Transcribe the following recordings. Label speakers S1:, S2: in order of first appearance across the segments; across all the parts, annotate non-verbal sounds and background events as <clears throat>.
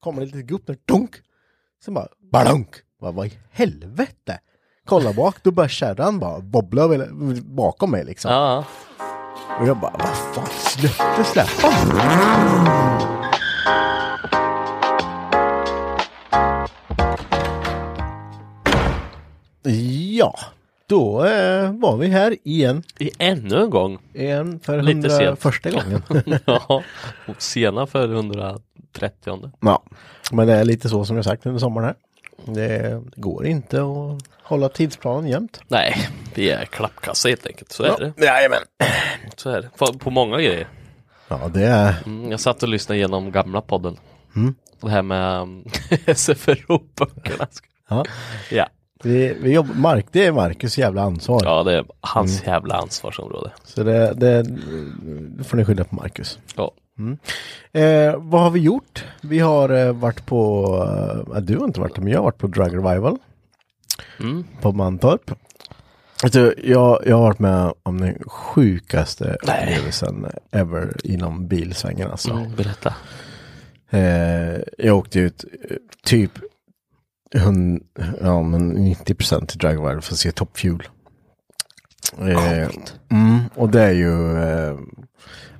S1: kommer det lite gupp där, dunk! Sen bara, badunk! Bara, vad i helvete? Kolla bak, då börjar kärran bara bobbla över- bakom mig liksom.
S2: Ja.
S1: Och jag bara, vad fan, släppte släppa! Ja, då eh, var vi här igen.
S2: I ännu en gång.
S1: Igen för
S2: Lite
S1: hundra
S2: sent.
S1: första gången.
S2: <laughs> ja. Och sena för 130.
S1: ja, men det är lite så som jag sagt under sommaren här. Det går inte att hålla tidsplanen jämt.
S2: Nej, vi är klappkassa helt enkelt. Så är det.
S1: Jajamän.
S2: Så är det. På, på många grejer.
S1: Ja, det är...
S2: Mm, jag satt och lyssnade igenom gamla podden. Det här med <laughs> um, SFRO-böckerna.
S1: Ja.
S2: Ja.
S1: Vi, vi jobb, Mark, det är Marcus jävla ansvar.
S2: ja, det är hans jävla ansvarsområde.
S1: Så det, det, det får ni skylla på Marcus.
S2: Ja.
S1: Eh, vad har vi gjort? Vi har eh, varit på... Eh, du har inte varit det, men jag har varit på Drug Revival.
S2: Mm.
S1: På Mantorp. Vet du, jag, jag har varit med om den sjukaste upplevelsen ever inom bilsvängen alltså.
S2: Mm, berätta.
S1: Eh, jag åkte ut eh, typ hund, ja, men 90 procent till Dragwire för att se Top Fuel. Eh, mm, och det är ju, eh,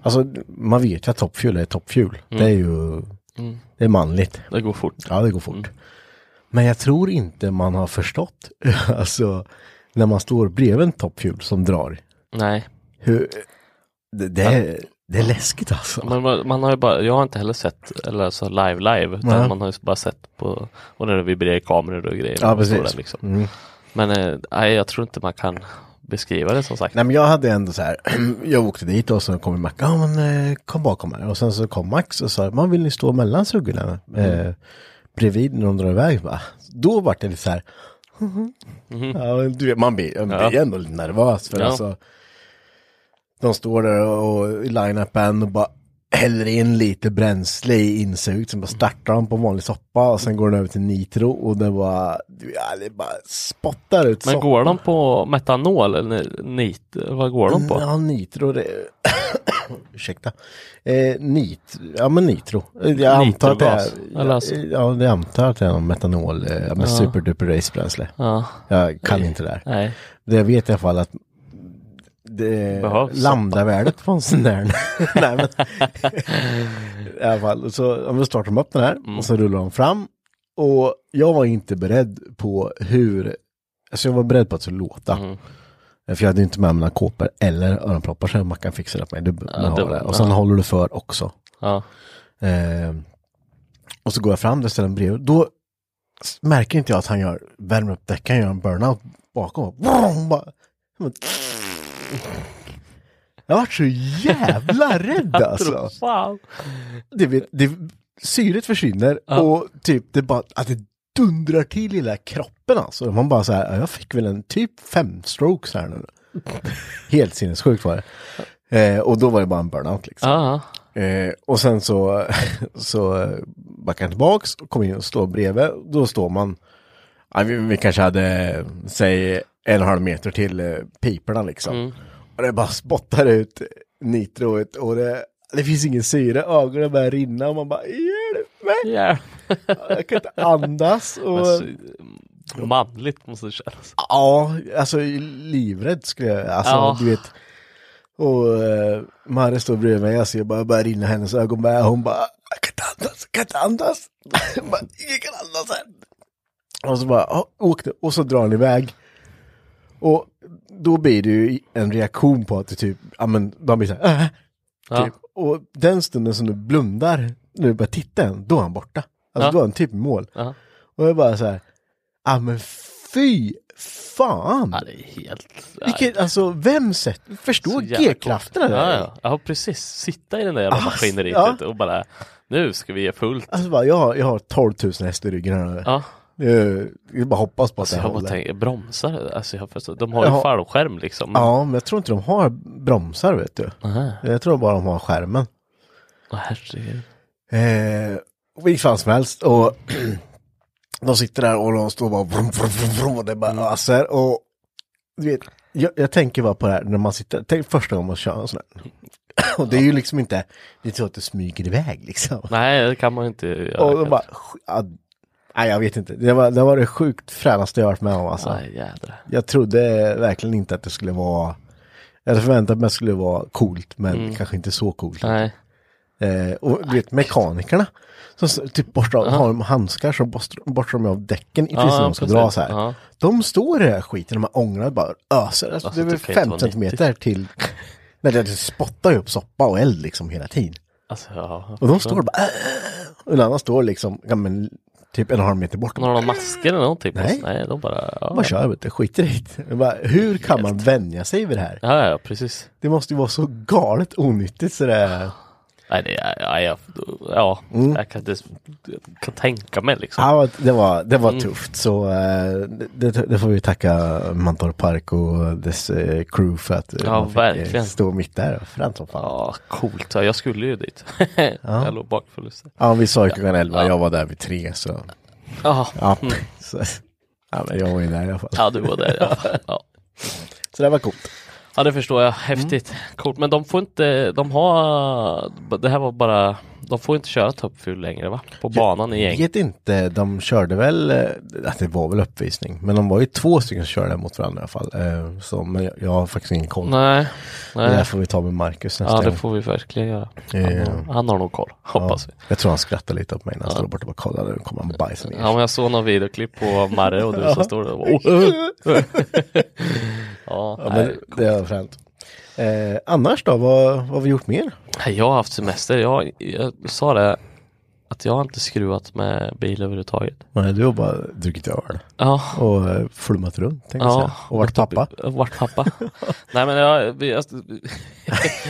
S1: alltså man vet ju att Top Fuel är Top Fuel. Det är ju, det är manligt.
S2: Det går fort.
S1: Ja, det går fort. Men jag tror inte man har förstått, <laughs> alltså när man står bredvid en Top Fuel som drar.
S2: Nej,
S1: Hur, det, det, är, det är läskigt alltså.
S2: men man, man har ju bara, jag har inte heller sett eller alltså live live, utan
S1: Nej.
S2: man har ju bara sett på, och när det vibrerar i kameror och grejer.
S1: Ja,
S2: och sådär
S1: precis.
S2: liksom.
S1: Mm.
S2: Men eh, nej, jag tror inte man kan beskriva det som sagt.
S1: Nej men jag hade ändå så här, <clears throat> jag åkte dit och så kom Mac, ja men eh, kom bakom här. Och sen så kom Max och sa, man vill ni stå mellan suggorna?
S2: Mm.
S1: Eh, bredvid när de drar iväg va? Då var det lite så här, <laughs> ja, men du vet, man blir, man blir
S2: Mm-hmm. Ja.
S1: ändå lite nervös för
S2: Ja.
S1: alltså, de står där och i line-upen och bara häller in lite bränsle i insuget, sen bara startar de på vanlig soppa och sen går den över till nitro och det bara, ja, det bara spottar ut
S2: Men
S1: soppa.
S2: går de på metanol eller nit? Vad går de på?
S1: Ja, nitro det... <coughs> Ursäkta. Eh, nit... Ja, men nitro. Eh, Jag antar att det är...
S2: Nitrogas, eller alltså?
S1: Ja, det antar att det är någon metanol, eh, ja, men superduper racebränsle.
S2: Ja,
S1: Jag kan inte det där.
S2: nej.
S1: Det jag vet i alla fall att det
S2: Behövs.
S1: lambdavärdet på en sån
S2: <laughs>
S1: där. Nej, men, I alla fall, så om vi startar de upp den här
S2: Mm.
S1: och så rullar de fram. Och jag var inte beredd på hur, alltså jag var beredd på att det skulle låta.
S2: Mm.
S1: För jag hade ju inte med mig några kåpor eller öronproppar så man kan fixa det på mig. Det,
S2: Ja,
S1: man har
S2: det-
S1: det. Och sen
S2: ja.
S1: håller du för också.
S2: Ja.
S1: Eh, och så går jag fram där ställer den bredvid. Då s- märker inte jag att han gör, värmer upp däcken, gör en burnout bakom. Vroom, bara, jag vart så jävla rädd alltså.
S2: Wow.
S1: Det, vet- det, syret försvinner
S2: Ja.
S1: och typ det bara, att det dundrar till i hela kroppen alltså. Man bara så här, jag fick väl en typ fem strokes här nu. Helt sinnessjukt var det. Eh, och då var det bara en burnout liksom.
S2: Ja,
S1: Eh, och sen så, <laughs> så eh, backar jag tillbaks och kommer in och står bredvid. Då står man, ja, vi, vi kanske hade, eh, säg en och en halv meter till eh, piporna liksom. Och det bara spottar ut nitroet och det, det finns ingen syre, ögonen börjar rinna och man bara hjälp mig,
S2: Yeah.
S1: jag kan inte andas. Och,
S2: Alltså, Manligt måste det kännas.
S1: ja, alltså livrädd skulle jag, alltså
S2: Ja.
S1: du vet. Och eh, Marre står bredvid mig, alltså jag bara börjar rinna hennes ögon med, hon bara jag kan inte andas, jag kan inte andas. <laughs> Jag bara, jag kan andas här. Och så bara, ja, åkte, och så drar han iväg. Och då blir det ju en reaktion på att det typ, ja men de blir så här, "Äh."
S2: Ja.
S1: Typ. Och den stunden som du blundar, när du börjar titta än, då är han borta. Alltså
S2: Ja.
S1: då är han typ i mål.
S2: Ja.
S1: Och jag bara så här, ja men fy fan!
S2: ja, det är helt... ja,
S1: Vilket, alltså vem sett,
S2: så
S1: förstå
S2: jävla coolt.
S1: g-krafterna där.
S2: Ja, ja. ja, precis. Sitta i den där jävla
S1: Ah,
S2: maskineriet
S1: ja.
S2: och bara nu ska vi ge fullt.
S1: Alltså bara, jag, har- jag har 12 000 häst i ryggen här.
S2: Ja.
S1: Jag, jag bara hoppas på att
S2: Så
S1: det
S2: jag bara
S1: håller.
S2: tänker, bromsar? Alltså jag förstår, de har ju
S1: Ja.
S2: fallskärm liksom.
S1: Ja, men jag tror inte de har bromsar vet du.
S2: Aha.
S1: Jag tror bara de har skärmen.
S2: Åh, herregud.
S1: Eh, och vilket fan som helst. Och <clears throat> de sitter där och de står bara vrum, vrum, vrum, vrum, och det bara
S2: Mm.
S1: öser. Och du vet, jag, jag tänker bara på det här när man sitter, tänk första gången man kör en sån här. <clears throat> Och det är ju liksom inte, det är så att det smyger iväg liksom.
S2: Nej, det kan man ju inte
S1: <laughs>
S2: göra.
S1: och de bara, sk- ja, nej jag vet inte, det var det, var det sjukt fränaste jag varit med om alltså.
S2: Nej, jädrar.
S1: Jag trodde verkligen inte att det skulle vara, jag hade förväntat mig att det skulle vara coolt men kanske inte så coolt.
S2: Mm. Nej.
S1: Eh, och du vet mekanikerna som s- typ borstar av, har de handskar så borstar, borstar de av däcken i precis när de ska
S2: precis.
S1: dra så här.
S2: Ja.
S1: De står i den här skiten, de här ångorna bara öser. Alltså,
S2: Alltså,
S1: det är väl
S2: det kan ju inte
S1: 5
S2: vara
S1: centimeter till, <laughs> nej det det spottar ju upp soppa och eld liksom hela tiden.
S2: Alltså, ja.
S1: Och de står bara, "Äh." och en annan står liksom, ja, men, typ en och en halv meter bort.
S2: Har de masker eller någonting? på
S1: Nej.
S2: sig? Nej, de bara... Ja,
S1: Vad kör vet du, skiter i det. Jag bara, Hur kan man vänja sig vid det här?
S2: ja, ja precis.
S1: Det måste ju vara så galet onyttigt så det är...
S2: Nej, det är, ja, jag, ja jag kan inte jag kan tänka mig liksom.
S1: Mm. Ja, det var, det
S2: Mm.
S1: var tufft. Så eh, det, det får vi tacka Mantorp Park och dess eh, crew för att eh,
S2: Ja,
S1: man fick, eh,
S2: verkligen.
S1: stå mitt där. Fränt som fan.
S2: Ja, coolt. Ja, jag skulle ju dit. <laughs> Jag låg bakfull. så.
S1: Ja, vi sa ju klockan 11, jag var där vid tre så...
S2: Ja,
S1: Ja, <laughs> så, ja men jag var ju där i alla fall.
S2: Mm. ja, du var där i
S1: <laughs>
S2: alla fall. Ja.
S1: Så det var coolt.
S2: Ja det förstår jag, häftigt.
S1: Mm.
S2: Coolt. Men de får inte, de har, det här var bara, de får inte köra toppful längre va? På banan i
S1: Jag
S2: gäng.
S1: vet inte, de körde väl, eh, att det var väl uppvisning, men de var ju två stycken som körde mot varandra i alla fall. Eh, Så, men jag, jag har faktiskt ingen koll.
S2: Nej,
S1: Det där
S2: nej.
S1: får vi ta med Marcus nästa
S2: Ja det
S1: gång.
S2: får vi verkligen göra. Han,
S1: Eh,
S2: har- han har nog koll, hoppas vi.
S1: Jag tror han skrattar lite åt mig när han står där borta och bara kollar, nu kommer han bajsa ner
S2: Ja men jag såg någon videoklipp på Marre och du som står där och bara, oh.
S1: <laughs>
S2: <laughs> ja,
S1: Ja,
S2: nej.
S1: men det har fränt. Eh, annars då, vad, vad har vi gjort mer?
S2: Nej, Jag har haft semester, jag, jag sa det att jag har inte skruvat med bil överhuvudtaget.
S1: Nej, du har bara druckit öl
S2: Ja,
S1: och eh, flummat runt tänkte jag säga. Och varit
S2: gått upp-
S1: pappa. <laughs>
S2: Vart pappa. Nej men jag, vi, jag,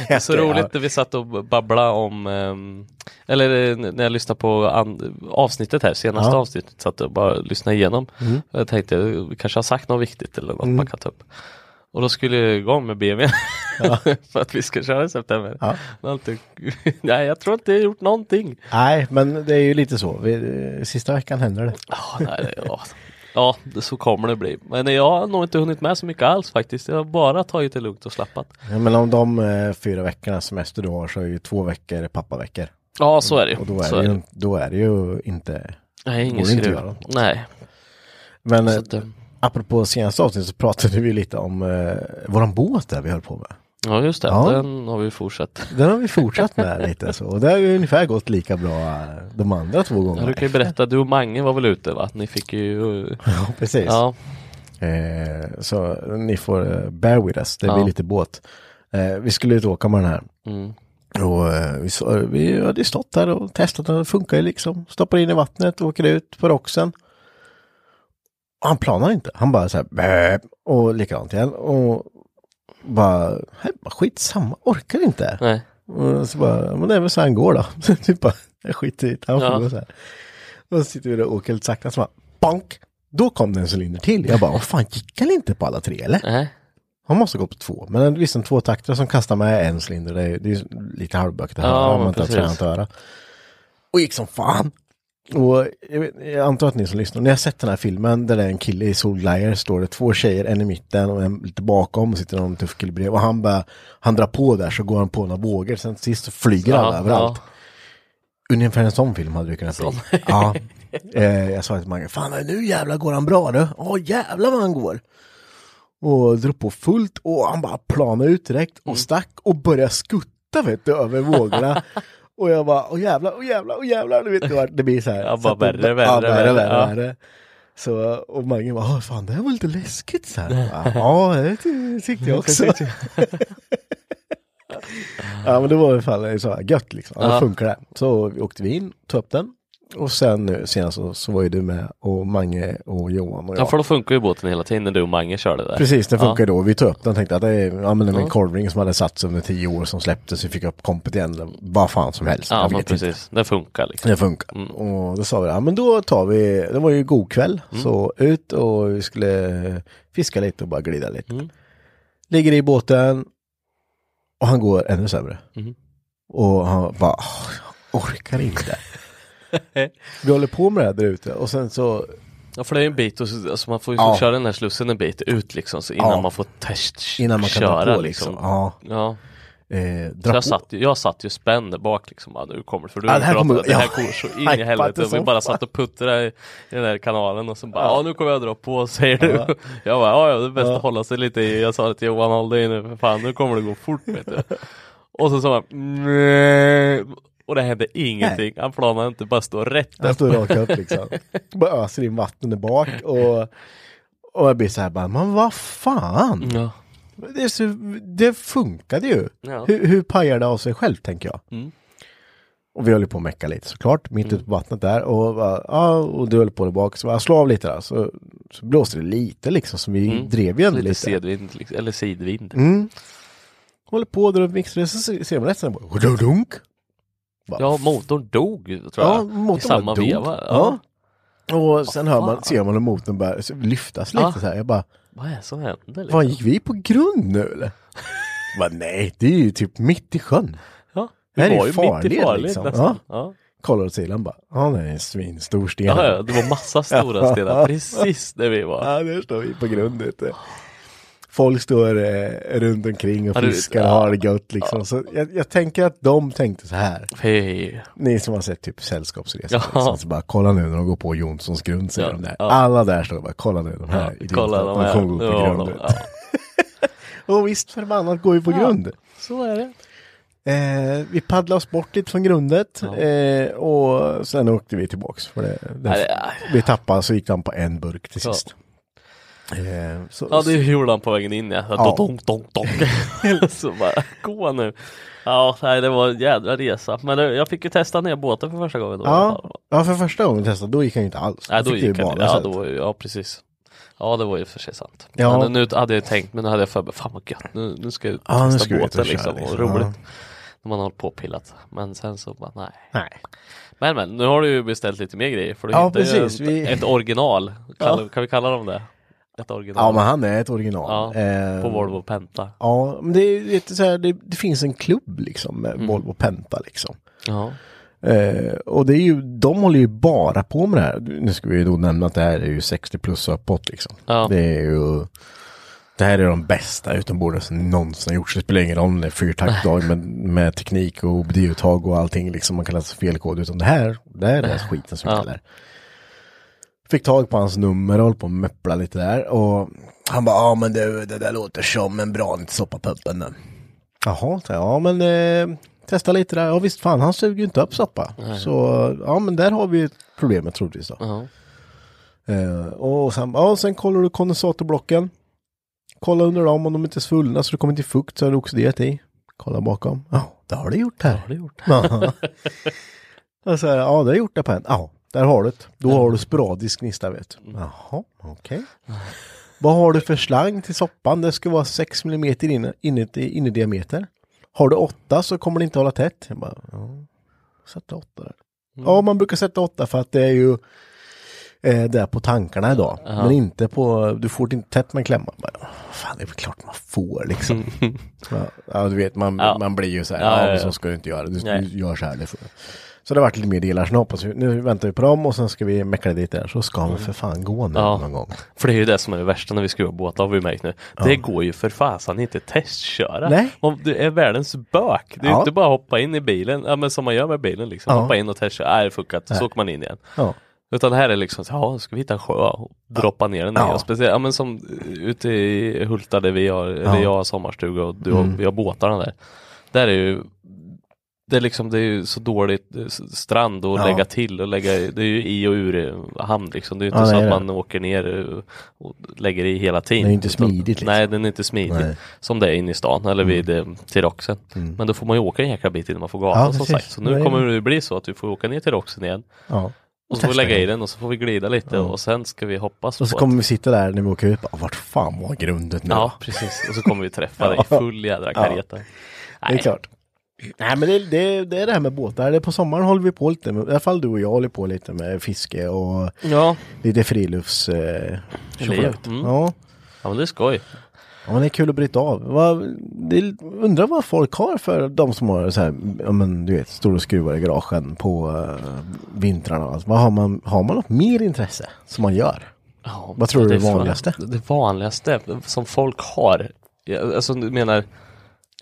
S2: det är så roligt när vi satt och babblade om, ehm, eller eh, när jag lyssnade på an, avsnittet här, senaste
S1: Ja. Mm.
S2: avsnittet, satt och bara lyssnade igenom. Jag tänkte, vi kanske har sagt något viktigt eller något man kan ta upp. Och då skulle jag igång med BMW <laughs> för att vi ska köra i september.
S1: Ja.
S2: Men alltid- <laughs> Nej, jag tror inte jag har gjort någonting.
S1: Nej, men det är ju lite så. Vi, eh, sista veckan händer det.
S2: Ja, nej, det- ja. ja, det- så kommer det bli. Men jag har nog inte hunnit med så mycket alls faktiskt. Jag har bara tagit det lugnt och slappat.
S1: Ja, men om de eh, fyra veckorna semester du har så är ju två veckor pappaveckor.
S2: Ja, så är det ju.
S1: Och då
S2: Så
S1: är, det ju, då är det ju inte...
S2: Nej, ingen
S1: går det inte att
S2: skruv.
S1: göra.
S2: Nej.
S1: Men eh,
S2: Så att, eh,
S1: apropå senaste avsnitt så pratade vi lite om eh, våran båt där vi höll på med.
S2: ja, just det.
S1: Ja.
S2: Den har vi fortsatt.
S1: Den har vi fortsatt med lite så. Och det har ju ungefär gått lika bra eh, de andra två
S2: Ja,
S1: gångerna.
S2: du kan ju berätta, du och Mange var väl ute va? Ni fick ju... eh,
S1: Ja, precis.
S2: Ja,
S1: Eh, så ni får eh, bear with us, det blir
S2: Ja.
S1: lite båt. Eh, vi skulle ut och åka med den här.
S2: mm.
S1: Och eh, vi, så, vi hade ju stått där och testat den, det funkar ju liksom. Stoppar in i vattnet, åker ut på roxen. Och han planar inte, han bara så här "Bäp", och likadant igen. Och bara, "Hej, bara skitsamma, orkar inte.
S2: nej.
S1: Och så bara, men det är väl så här han går då. <laughs> Så typ bara, jag skiter i det, han får
S2: Ja.
S1: gå så här. Och så sitter vi där och åker lite sakta, så bara, bonk! Då kom den cylinder till. Jag bara, vad fan, gick han inte på alla tre eller?
S2: nej.
S1: Han måste gå på två. Men en, visst, en tvåtaktare som kastar med en cylinder, det är, det är lite halvbökigt att
S2: Ja,
S1: höra om
S2: men
S1: man inte har
S2: precis.
S1: tränat att höra. Och gick som fan. Och jag, vet, jag antar att ni som lyssnar, ni har sett den här filmen där det är en kille i solglajjor, står det två tjejer, en i mitten och en lite bakom och sitter någon tuff kille bredvid. Och han, bara, han drar på där så går han på några vågor, sen till sist så flyger alla
S2: Ja,
S1: överallt.
S2: ja.
S1: Ungefär en sån film hade du kunnat bli. Ja. Eh, jag sa till Mange, fan nu jävlar går han bra du. Åh jävlar vad han går. Och drog på fullt och han bara planade ut direkt
S2: Mm.
S1: och stack och började skutta vet du, över vågorna. och jag bara, åh jävlar, åh jävlar, åh jävlar. Du vet, det var- det blir så här.
S2: Ja,
S1: Så
S2: bara
S1: att det-
S2: värre,
S1: ja,
S2: värre,
S1: värre,
S2: värre,
S1: värre,
S2: ja.
S1: värre. Så, och Mange bara, "Åh, fan det här var lite läskigt så här.
S2: <laughs>
S1: ja, det tyckte jag också. Ja men det var i alla fall så här gött liksom. Ja. Då
S2: Ja.
S1: funkar det. Så åkte vi in, tog upp den. Och sen nu senast så, så var ju du med och Mange och Johan och
S2: Ja,
S1: jag.
S2: för då funkar ju båten hela tiden när du och Mange körde där.
S1: Precis, det funkar
S2: ja.
S1: då. Vi tog upp den och tänkte att det är, ja, men det var en
S2: Ja.
S1: korvring som hade satts under tio år som släpptes. Vi fick upp kompet igen. Vad fan som helst.
S2: Ja,
S1: jag
S2: men
S1: vet inte.
S2: precis. Det funkar liksom.
S1: Det funkar. Och då sa vi, ja men då tar vi, det var ju god kväll.
S2: Mm.
S1: Så ut och vi skulle fiska lite och bara glida lite.
S2: Mm.
S1: Ligger i båten och han går ännu sämre.
S2: Mm-hmm.
S1: Och han bara, "Åh, jag orkar
S2: <laughs>
S1: inte. vi håller på med det här där ute och sen så,
S2: Ja, för det är ju en bit och så, alltså man får ju
S1: Ja.
S2: köra den här slussen en bit ut liksom, så innan
S1: Ja.
S2: man får test
S1: innan man kan
S2: köra,
S1: dra på liksom. Ja,
S2: Ja.
S1: eh, dra
S2: Så
S1: på.
S2: jag, satt, ju- jag satt ju spänd där bak liksom, bara, nu kommer det, för du
S1: Ja, det här
S2: pratade
S1: kommer-
S2: att det här
S1: ja. <laughs>
S2: går så in i
S1: Hypat alltså.
S2: helvete.
S1: det
S2: Och vi
S1: som
S2: bara
S1: fan.
S2: satt och puttrade i, i den här kanalen och så bara, ja nu kommer jag dra på säger du. <laughs> Jag bara, ja ja, det är bäst att hålla sig lite i, jag sa det till Johan, håll dig nu för fan, nu kommer det gå fort
S1: <laughs>
S2: vet du. Och så sa man, "Nej." och det hände ingenting, han planade inte, bara stå rätt
S1: Den
S2: upp.
S1: står rakt upp liksom. Bara öser in vatten där bak och, och jag blir så här bara, men vad fan.
S2: Ja.
S1: Det, är så, det funkade ju.
S2: Ja. Mm.
S1: Hur, hur pajar det av sig själv tänker jag. Och vi höll ju på att mecka lite såklart, mitt ute på vattnet där. Och, bara, ja, och du höll på där bak, så bara, slå av lite där. Så, så blåste det lite liksom, så vi drev ju ändå
S2: Mm. Lite,
S1: lite. Mm.
S2: sedvind, liksom, eller sidvind.
S1: Håller på där och mixar det, så se- ser man rätt snabbt bara, dunk.
S2: Ja, motorn dog tror jag.
S1: Ja, motorn
S2: I samma
S1: dog.
S2: veva.
S1: Ja. Och sen hör man,
S2: fan. Ah.
S1: ser man hur motorn börjar lyftas lite
S2: Ja.
S1: så här. Jag bara,
S2: Vad är det som liksom? händer?
S1: Fan, gick vi på grund nu eller? <laughs> Bara, nej, det är ju typ mitt i sjön.
S2: Ja,
S1: Det här är
S2: var
S1: ju
S2: ju mitt i
S1: farled,
S2: farled
S1: liksom.
S2: nästan. Ja.
S1: Kollar åt sidan bara, ja det är en svinstor sten.
S2: Ja, ja, det var massa stora stenar precis där vi var.
S1: Ja, där står vi på grund ute. Folk står eh, runt omkring och
S2: Ja, du vet,
S1: fiskar och
S2: ja.
S1: har det gött liksom. Så jag, jag tänker att de tänkte så här.
S2: Fy.
S1: Ni som har sett typ sällskapsresor.
S2: Ja.
S1: Liksom, så bara, kolla nu när de går på Jonssons grund. säger
S2: Ja,
S1: de där.
S2: ja.
S1: Alla där står och bara, kolla nu de
S2: Ja,
S1: här. idioterna,
S2: kolla de här.
S1: kommer gå
S2: Nu
S1: på
S2: har
S1: grund.
S2: de,
S1: vet
S2: ja.
S1: du. Och visst förbannat går vi på grund.
S2: Så är det.
S1: Eh, vi paddlade oss bort lite från grundet
S2: Ja.
S1: eh, och sen åkte vi tillbaks. För det, det,
S2: Nej, det-
S1: Vi tappade så gick han på en burk till
S2: Ja.
S1: sist. Eh, så,
S2: Ja, det gjorde han på vägen in ja.
S1: Ja.
S2: ja. Donk, donk, donk. <laughs> så bara, gå nu. Ja, nej, det var en jädra resa. Men det, jag fick ju testa nya båten för första gången då. i alla
S1: ja,
S2: fall.
S1: ja, för första gången vi testade då gick han ju inte alls.
S2: Nej, då
S1: fick det ju
S2: gick han
S1: bara
S2: ja,
S1: sätt.
S2: då, var ju- ja, precis. Ja, det var ju för sig sant.
S1: Ja.
S2: Men nu hade jag tänkt, men nu hade jag för mig, fan vad gött, nu, nu ska jag ut och
S1: Ja, nu
S2: testa
S1: ska vi ut och
S2: båten
S1: köra,
S2: liksom. Och
S1: liksom.
S2: roligt. När man har hållit på och pillat. Men sen så bara, nej.
S1: Nej.
S2: Men men, nu har du ju beställt lite mer grejer för du
S1: Ja,
S2: hittade ju
S1: precis,
S2: ett,
S1: vi-
S2: ett original. Kall, Kan vi kalla dem det? Ett original.
S1: Ja, men han är ett original.
S2: Ja,
S1: Eh,
S2: På Volvo Penta.
S1: Ja, men det, är lite så här, det, det finns en klubb liksom
S2: Mm.
S1: med Volvo Penta liksom.
S2: Ja.
S1: Eh, och det är ju, de håller ju bara på med det här. Nu ska vi ju då nämna att det här är ju 60 plus och uppåt liksom.
S2: Ja.
S1: Det är ju, det här är de bästa utombords som någonsin har gjorts. Det spelar ingen roll om det är fyrtaktdag med, med teknik och obduttag och allting liksom. Man kan läsa felkod utan det här, det här är den här skiten som
S2: Ja.
S1: gäller. Fick tag på hans nummer och höll på att möppla lite där och han bara, ja men du, det där låter som en bra soppapumpen. Jaha, sa jag. ja men eh, testa lite där. Ja visst fan, han suger ju inte upp soppa. Så ja men där har vi problemet troligtvis då.
S2: Ja.
S1: Eh, och sen, ja, sen kollar du kondensatorblocken. Kolla under dem om de inte är svullna så det kommer inte fukt så har du oxiderat i. Kolla bakom. Ja, det har det gjort här.
S2: Har du gjort?
S1: <laughs> Ja. och så, här, ja, det har gjort det på en. Ja, Mm. där har du det. Då har du sporadisk gnista vet du. Jaha, okej. Vad har du för slang till soppan? Det ska vara 6 mm inuti innerdiameter. Har du 8 så kommer det inte hålla tätt. Jag bara, ja. Sätta 8 där. Ja, man brukar sätta 8 för att det är ju eh, där på tankarna idag. Men inte på, du får det inte tätt med klämman. Bara, ja, Fan, det är väl klart man får liksom. ja, ja, du vet, man,
S2: Ja.
S1: man blir ju så här,
S2: Ja,
S1: ja,
S2: ja,
S1: men
S2: ja.
S1: så ska du inte göra. Du,
S2: Nej.
S1: du gör så här. Det får. Så det har varit lite mer delar, så nu hoppas vi, nu väntar vi på dem och sen ska vi meckla dit där, så ska vi för fan gå nu
S2: Mm. Ja.
S1: någon gång.
S2: För det är ju det som är det värsta när vi skruvar båtar har vi märkt nu. Det går ju för fasen inte att testköra.
S1: Nej.
S2: Om det är världens bök. Det är
S1: Ja.
S2: inte bara att hoppa in i bilen, ja, men som man gör med bilen liksom.
S1: Ja.
S2: Hoppa in och testköra, nej det är fuckat, så åker man in igen.
S1: Ja.
S2: Utan här är liksom, så, ja, ska vi hitta en sjö och droppa ner den
S1: Ja.
S2: ja. Speciellt, ja men som eh, ute i Hulta där vi har, eller jag har sommarstuga och du har,
S1: Mm.
S2: vi har båtarna där. Där är ju, det är liksom, det är ju så dåligt eh, s- strand att
S1: Ja.
S2: lägga till och lägga, det är ju i och ur eh, hamn liksom. Det är ju inte
S1: Ja,
S2: så
S1: det är
S2: att
S1: det.
S2: man åker ner eh, och lägger i hela tiden.
S1: Det är ju inte
S2: Utan-
S1: smidigt, liksom.
S2: Nej, den är inte smidig.
S1: Nej. Mm.
S2: Som det är inne i stan eller vid eh, till Roxen. Men då får man ju åka en jäkla bit innan man får gata
S1: Ja,
S2: som
S1: precis.
S2: sagt. Så
S1: Nej,
S2: nu
S1: men-
S2: kommer det ju bli så att vi får åka ner till Roxen igen.
S1: ja.
S2: Och så får vi
S1: Testa
S2: lägga i
S1: igen.
S2: den och så får vi glida lite och sen ska vi hoppas
S1: Och så
S2: på
S1: kommer
S2: att...
S1: vi sitta där när vi åker ut, bara, vart fan var grundet nu?
S2: Ja, precis. Och så kommer vi
S1: <laughs>
S2: träffa dig i full jädra kareta.
S1: Det är klart. Nej men det, det, det är det här med båtar. Det är på sommaren håller vi på lite med, i alla fall du och jag håller på lite med fiske och
S2: Ja.
S1: lite frilufts... Eh,
S2: Liv.
S1: tjofrätt.
S2: Mm.
S1: ja.
S2: ja, men det är skoj.
S1: ja, men det är kul att bryta av. Vad, det, undrar vad folk har för de som har så här, ja men du vet, stora skruvar i garagen på eh, vintrarna. och allt. Vad har, man, har man något mer intresse som man gör?
S2: Ja,
S1: Vad tror du är det
S2: fan-
S1: vanligaste?
S2: Det vanligaste som folk har, ja, alltså du menar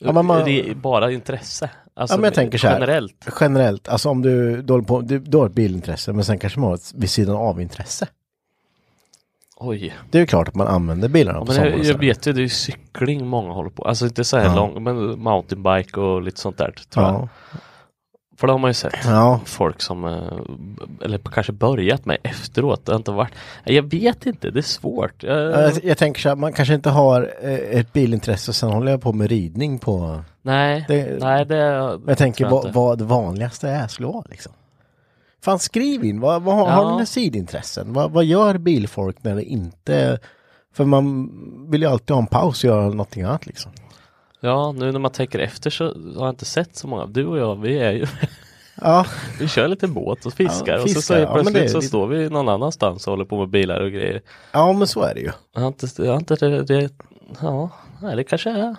S1: Ja, men man-
S2: det är bara intresse? Alltså,
S1: Ja, men jag tänker så här.
S2: generellt?
S1: Generellt, alltså om du, du, håller på, du, du har ett bilintresse men sen kanske man har ett vid sidan av-intresse.
S2: Oj.
S1: Det är ju klart att man använder bilarna
S2: Ja,
S1: på
S2: men jag,
S1: sommaren.
S2: jag vet ju, det är ju cykling många håller på Alltså inte så här
S1: Ja.
S2: lång, men mountainbike och lite sånt där tror jag.
S1: ja.
S2: För det har man ju sett.
S1: ja,
S2: folk som, eh, b- eller kanske börjat med efteråt, det har inte varit, jag vet inte, det är svårt. Eh,
S1: Ja, Jag, jag tänker så här, man kanske inte har eh, ett bilintresse och sen håller jag på med ridning på...
S2: nej,
S1: det-
S2: nej det
S1: Men jag tänker
S2: tror
S1: vad,
S2: inte.
S1: vad det vanligaste är skulle vara liksom. Fan skriv in, vad, vad har,
S2: Ja.
S1: har ni några sidintressen? Vad, vad gör bilfolk när det inte... För man vill ju alltid ha en paus och göra någonting annat liksom.
S2: Ja, nu när man tänker efter så har jag inte sett så många. Du och jag, vi är ju, <laughs>
S1: Ja,
S2: vi kör lite båt och fiskar, och så, så
S1: fiskar, ja,
S2: helt
S1: men
S2: plötsligt
S1: det är
S2: så
S1: lite-
S2: står vi någon annanstans och håller på med bilar och grejer.
S1: ja men så är det ju.
S2: Jag har inte, jag har inte det, det ja, nej, det kanske är,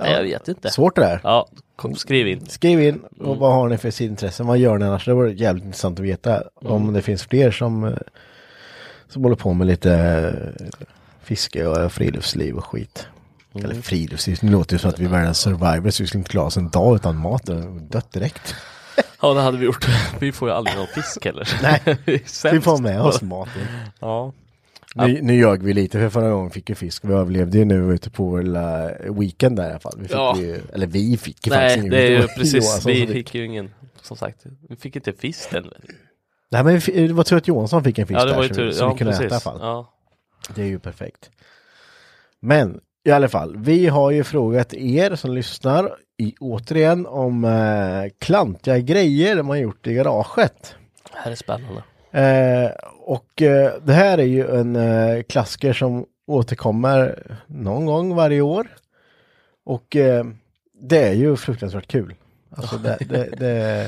S2: nej jag vet inte.
S1: Svårt det där.
S2: Ja, kom, skriv in.
S1: Skriv in, och
S2: Mm.
S1: vad har ni för sidintressen? Vad gör ni annars? Det vore jävligt intressant att veta
S2: Mm.
S1: om det finns fler som, eh, som håller på med lite eh, fiske och friluftsliv och skit.
S2: Mm.
S1: Eller friluftsliv, det låter ju som att vi är världens survivors, vi skulle inte klara oss en dag utan mat och dött direkt.
S2: Ja, det hade vi gjort. <laughs> Vi får ju aldrig någon fisk heller.
S1: Nej,
S2: <laughs> Vi är
S1: Vi
S2: sämst.
S1: får med oss maten.
S2: Ja.
S1: Nu, nu ljög vi lite, för förra gången fick vi fisk. Vi överlevde ju nu ute på vår lilla weekend där i alla fall. Vi fick
S2: Ja.
S1: ju, eller vi fick ju faktiskt
S2: Nej,
S1: ingen.
S2: det är ju
S1: var Johansson
S2: precis.
S1: som
S2: Vi
S1: fick.
S2: fick ju ingen, som sagt, vi fick inte fisk den.
S1: Nej men vi fick- det var tur att Johansson fick en fisk
S2: Ja, det
S1: där
S2: var ju
S1: så,
S2: tur.
S1: vi, så
S2: Ja,
S1: vi kunde äta i alla
S2: precis.
S1: fall.
S2: Ja.
S1: Det är ju perfekt. Men i alla fall, vi har ju frågat er som lyssnar i, återigen om eh, klantiga grejer man gjort i garaget.
S2: Det här är spännande.
S1: Eh, och eh, det här är ju en eh, klassiker som återkommer någon gång varje år. Och eh, det är ju fruktansvärt kul. Alltså det,
S2: <laughs>
S1: det, det,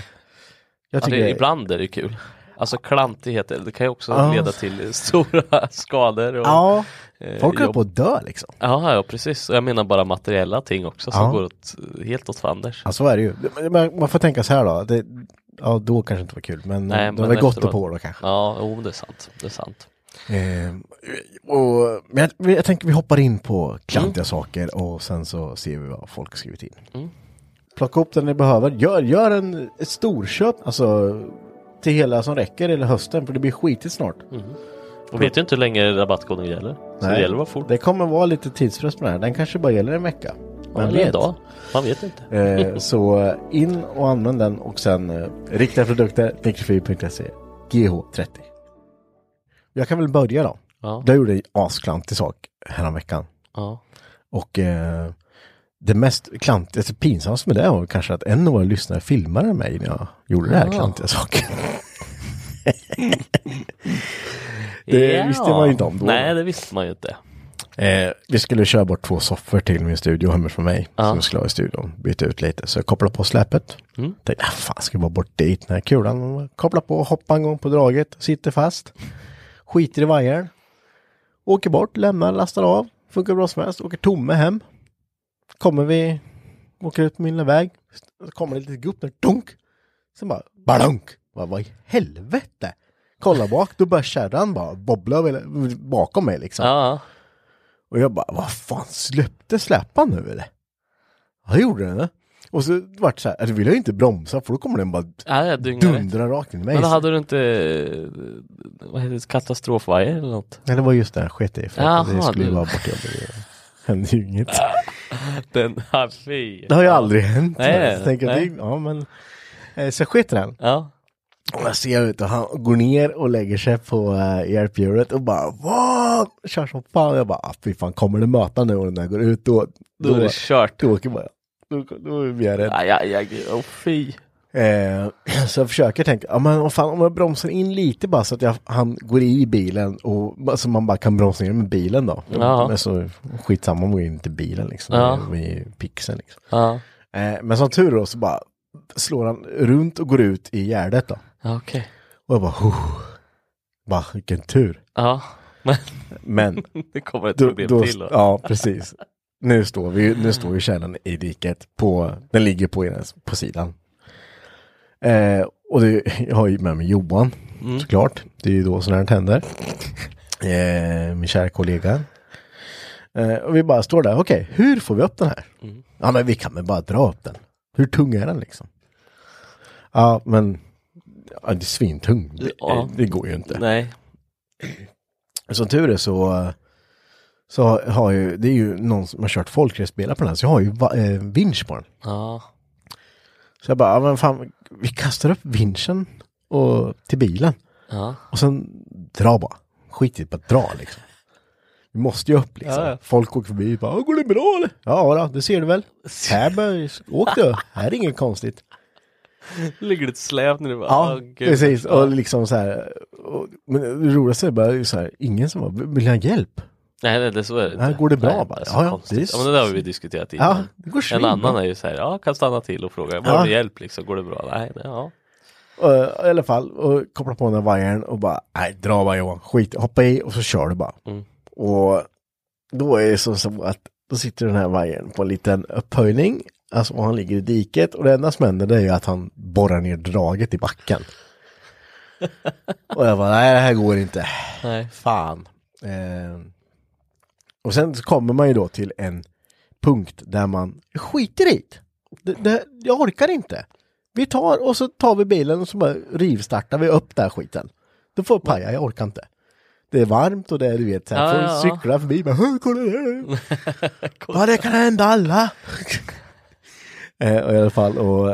S1: jag
S2: Ja,
S1: tycker
S2: det,
S1: det,
S2: ibland är det kul. Alltså klantigheter, det kan ju också
S1: Ja.
S2: leda till stora <laughs> skador. Och,
S1: Ja,
S2: eh,
S1: folk håller
S2: jobb.
S1: på att dö liksom.
S2: Ja, ja, precis. Och Jag menar bara materiella ting också som
S1: Ja.
S2: går åt, helt åt fanders.
S1: Ja, så är det ju. Men man får tänka så här då. Det, ja, då kanske det inte var kul, men
S2: Nej,
S1: det
S2: men
S1: var gott
S2: efteråt.
S1: att på då kanske.
S2: Ja, jo, det är sant. Det är sant.
S1: Eh, och, men jag, jag tänker vi hoppar in på klantiga
S2: Mm.
S1: saker och sen så ser vi vad folk har skrivit in. Plocka upp den ni behöver. Gör, gör en, ett storköp, alltså till hela som räcker eller hösten, för det blir skitigt snart.
S2: Och vet ju inte hur länge rabattkoden gäller. Så Mm, det gäller att vara fort.
S1: Det kommer vara lite tidspress på den här. Den kanske bara gäller en vecka.
S2: Ja,
S1: Vem
S2: eller en dag. Man vet inte. <laughs>
S1: Eh, så eh, in och använd den och sen eh, riktiga produkter, nick24.se, GH30. Jag kan väl börja då.
S2: Ja,
S1: Jag gjorde en asklantig sak häromveckan.
S2: ja.
S1: Och eh, det mest klantiga, alltså pinsammaste med det var kanske att en av våra lyssnare filmade mig när jag gjorde det här
S2: Ah.
S1: klantiga
S2: <laughs>
S1: saken. Det visste man ju inte om då.
S2: Nej, det visste man ju inte.
S1: Eh, vi skulle köra bort två soffor till min studio hemifrån mig.
S2: Ja.
S1: Som vi skulle ha i studion. Byta ut lite. Så jag kopplade på släpet.
S2: Mm.
S1: Tänkte, ah, fan ska jag bara bort dit den här kulan. Koppla på, hoppa en gång på draget. Sitter fast. Skiter i vajern. Åker bort, lämnar, lastar av. Funkar bra som helst. Åker tomme hem. Kommer vi, åker ut på min lilla väg. Så kommer det ett litet gupp där, dunk. Sen bara balonk! Vad vad i helvete? Kolla bak, då bara kärran bara bobbla över- bakom mig liksom.
S2: Ja.
S1: Och jag bara, vad fan, släppte släpan nu eller? Ja, det gjorde den det. Och så vart det så här, eller vill jag ju inte bromsa för då kommer den bara
S2: Ja, jag dyngar rätt.
S1: dundra rakt in i mig.
S2: Men hade du inte eh, vad heter det, katastrofvajer eller något?
S1: Nej, det var just det här sket i för att det
S2: Jaha,
S1: skulle
S2: du.
S1: vara borta. Det hände ju inget.
S2: <laughs> Den här fy.
S1: Det har ju aldrig hänt.
S2: Nej, nej,
S1: så tänker jag,
S2: nej.
S1: det- ja, men, eh, så jag sket i den.
S2: Ja.
S1: Och jag ser ut och han går ner och lägger sig på eh, hjälphjulet och bara vad? Kör som fan. Jag bara, ah, fy fan kommer det möta nu och den där går ut då?
S2: Då är det kört.
S1: då åker bara, då, då blir jag rädd.
S2: Aj, aj, aj, oh, fy.
S1: Eh, <clears throat> så jag försöker tänka, ja men vad fan om jag bromsar in lite bara så att jag, han går i bilen och så alltså man bara kan bromsa ner med bilen då.
S2: Ja.
S1: Men så skitsamma om man går in till bilen liksom,
S2: Ja.
S1: med pixeln liksom.
S2: Ja,
S1: Eh, men som tur då så bara slår han runt och går ut i gärdet då.
S2: ja, okej.
S1: Och jag bara, huh. bara vilken tur.
S2: Ja, men
S1: Men
S2: <laughs> det kommer ett
S1: då,
S2: problem
S1: då,
S2: till då.
S1: ja precis. Nu står vi ju- nu står ju kärnan i diket på, den ligger på, ena- på sidan. Eh, och det, jag har ju med mig Johan,
S2: Mm.
S1: såklart. Det är ju då sådana här händer. Eh, min kära kollega. Eh, och vi bara står där, okej, hur får vi upp den här?
S2: Mm.
S1: Ja men vi kan väl bara dra upp den. Hur tung är den liksom? Ja men, ja, det är svintung. Det,
S2: Ja.
S1: det går ju inte.
S2: Nej.
S1: Som tur är så, så har ju, det är ju någon som har kört folkracebilar på den här, så jag har ju va- eh, vinsch på den.
S2: Ja.
S1: Så jag bara, ja, men fan, vi kastar upp vinschen och, till bilen
S2: Ja.
S1: och sen dra bara. Skit i det, bara dra liksom. Vi måste ju upp liksom.
S2: Ja, ja.
S1: Folk åker förbi och bara, går det bra eller? Ja då, det ser du väl. Här bara, åk du, här är inget konstigt.
S2: Det ligger ett släp nu. Bara,
S1: Ja,
S2: åh, gud.
S1: precis.
S2: Ja.
S1: Och liksom så här, och, men det roligaste är bara så här, ingen som bara, vill ni ha hjälp?
S2: Nej, nej, det så är det
S1: Här
S2: inte.
S1: går det bra
S2: nej,
S1: bara.
S2: Det är så
S1: Ja, ja,
S2: konstigt.
S1: det är-
S2: ja, men det där har vi diskuterat innan.
S1: Ja, det går
S2: en
S1: svinbra.
S2: annan är ju så här, ja, kan stanna till och fråga, behöver
S1: Ja.
S2: du hjälp liksom, går det bra? Nej, nej, ja.
S1: Och, Eh, I alla fall, och koppla på den här vajern och bara, nej dra bara Johan, skit hoppa i och så kör du bara.
S2: Mm.
S1: Och då är det så, så att då sitter den här vajern på en liten upphöjning, alltså och han ligger i diket och det enda som händer det är ju att han borrar ner draget i backen. och jag bara, nej det här går inte,
S2: Nej.
S1: fan. Eh, och sen så kommer man ju då till en punkt där man skiter i det. det. Jag orkar inte. Vi tar och så tar vi bilen och så bara rivstartar vi upp den här skiten. Då får jag paja, jag orkar inte. Det är varmt och det är du vet, så här,
S2: Ja,
S1: folk
S2: ja, ja.
S1: cyklar förbi bara, "Hej, kolla
S2: <laughs>
S1: det Ja, det kan hända alla. <laughs> eh, och I alla fall, och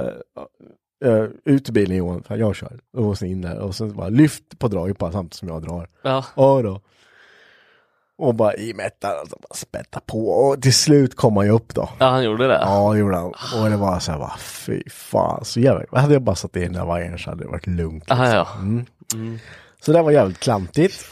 S1: eh, ut ur bilen Johan, för jag kör. Och sen in där och sen bara lyft på draget bara samtidigt som jag drar.
S2: Ja.
S1: Ja då. Och bara i mättan, alltså bara spätta på. Och till slut kom han ju upp då.
S2: ja, han gjorde det.
S1: Ja, det gjorde han. Och det var så här, bara, fy fan. Så jävla, hade jag bara satt i den där vajern så hade det varit lugnt. liksom.
S2: Ah, ja.
S1: Så det var jävligt klantigt.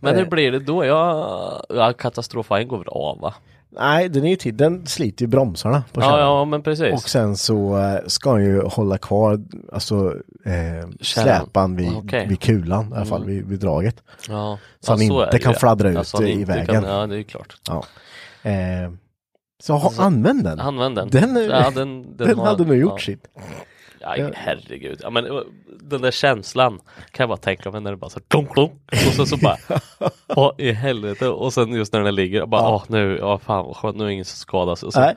S2: Men
S1: Eh,
S2: hur blir det då? Ja, ja katastrofvagnen går väl av va?
S1: Nej, den är ju till, den sliter ju bromsarna på
S2: Ja,
S1: kärran.
S2: ja, men
S1: Och
S2: precis.
S1: sen så eh, ska han ju hålla kvar, alltså eh, släpan vid,
S2: Okej. Mm.
S1: vid kulan, i alla fall vid, vid draget.
S2: Ja.
S1: Så han
S2: ja, är
S1: inte
S2: det
S1: kan
S2: ju.
S1: fladdra ut,
S2: han
S1: eh, i
S2: inte
S1: vägen.
S2: Kan, ja, det är ju klart.
S1: Ja. Eh, så ha, använd den.
S2: Använd den.
S1: Mm. Den, är-
S2: ja,
S1: <laughs>
S2: den,
S1: den
S2: har-
S1: hade nog gjort
S2: ja.
S1: sitt.
S2: Aj, herregud. Ja, men eh, den där känslan kan jag bara tänka mig när det bara så här, klonk, klonk, och sen
S1: <laughs>
S2: så bara åh i helvete och sen just när den ligger och bara åh nu, ja fan vad skönt, nu är ingen som skadas och så
S1: Nej.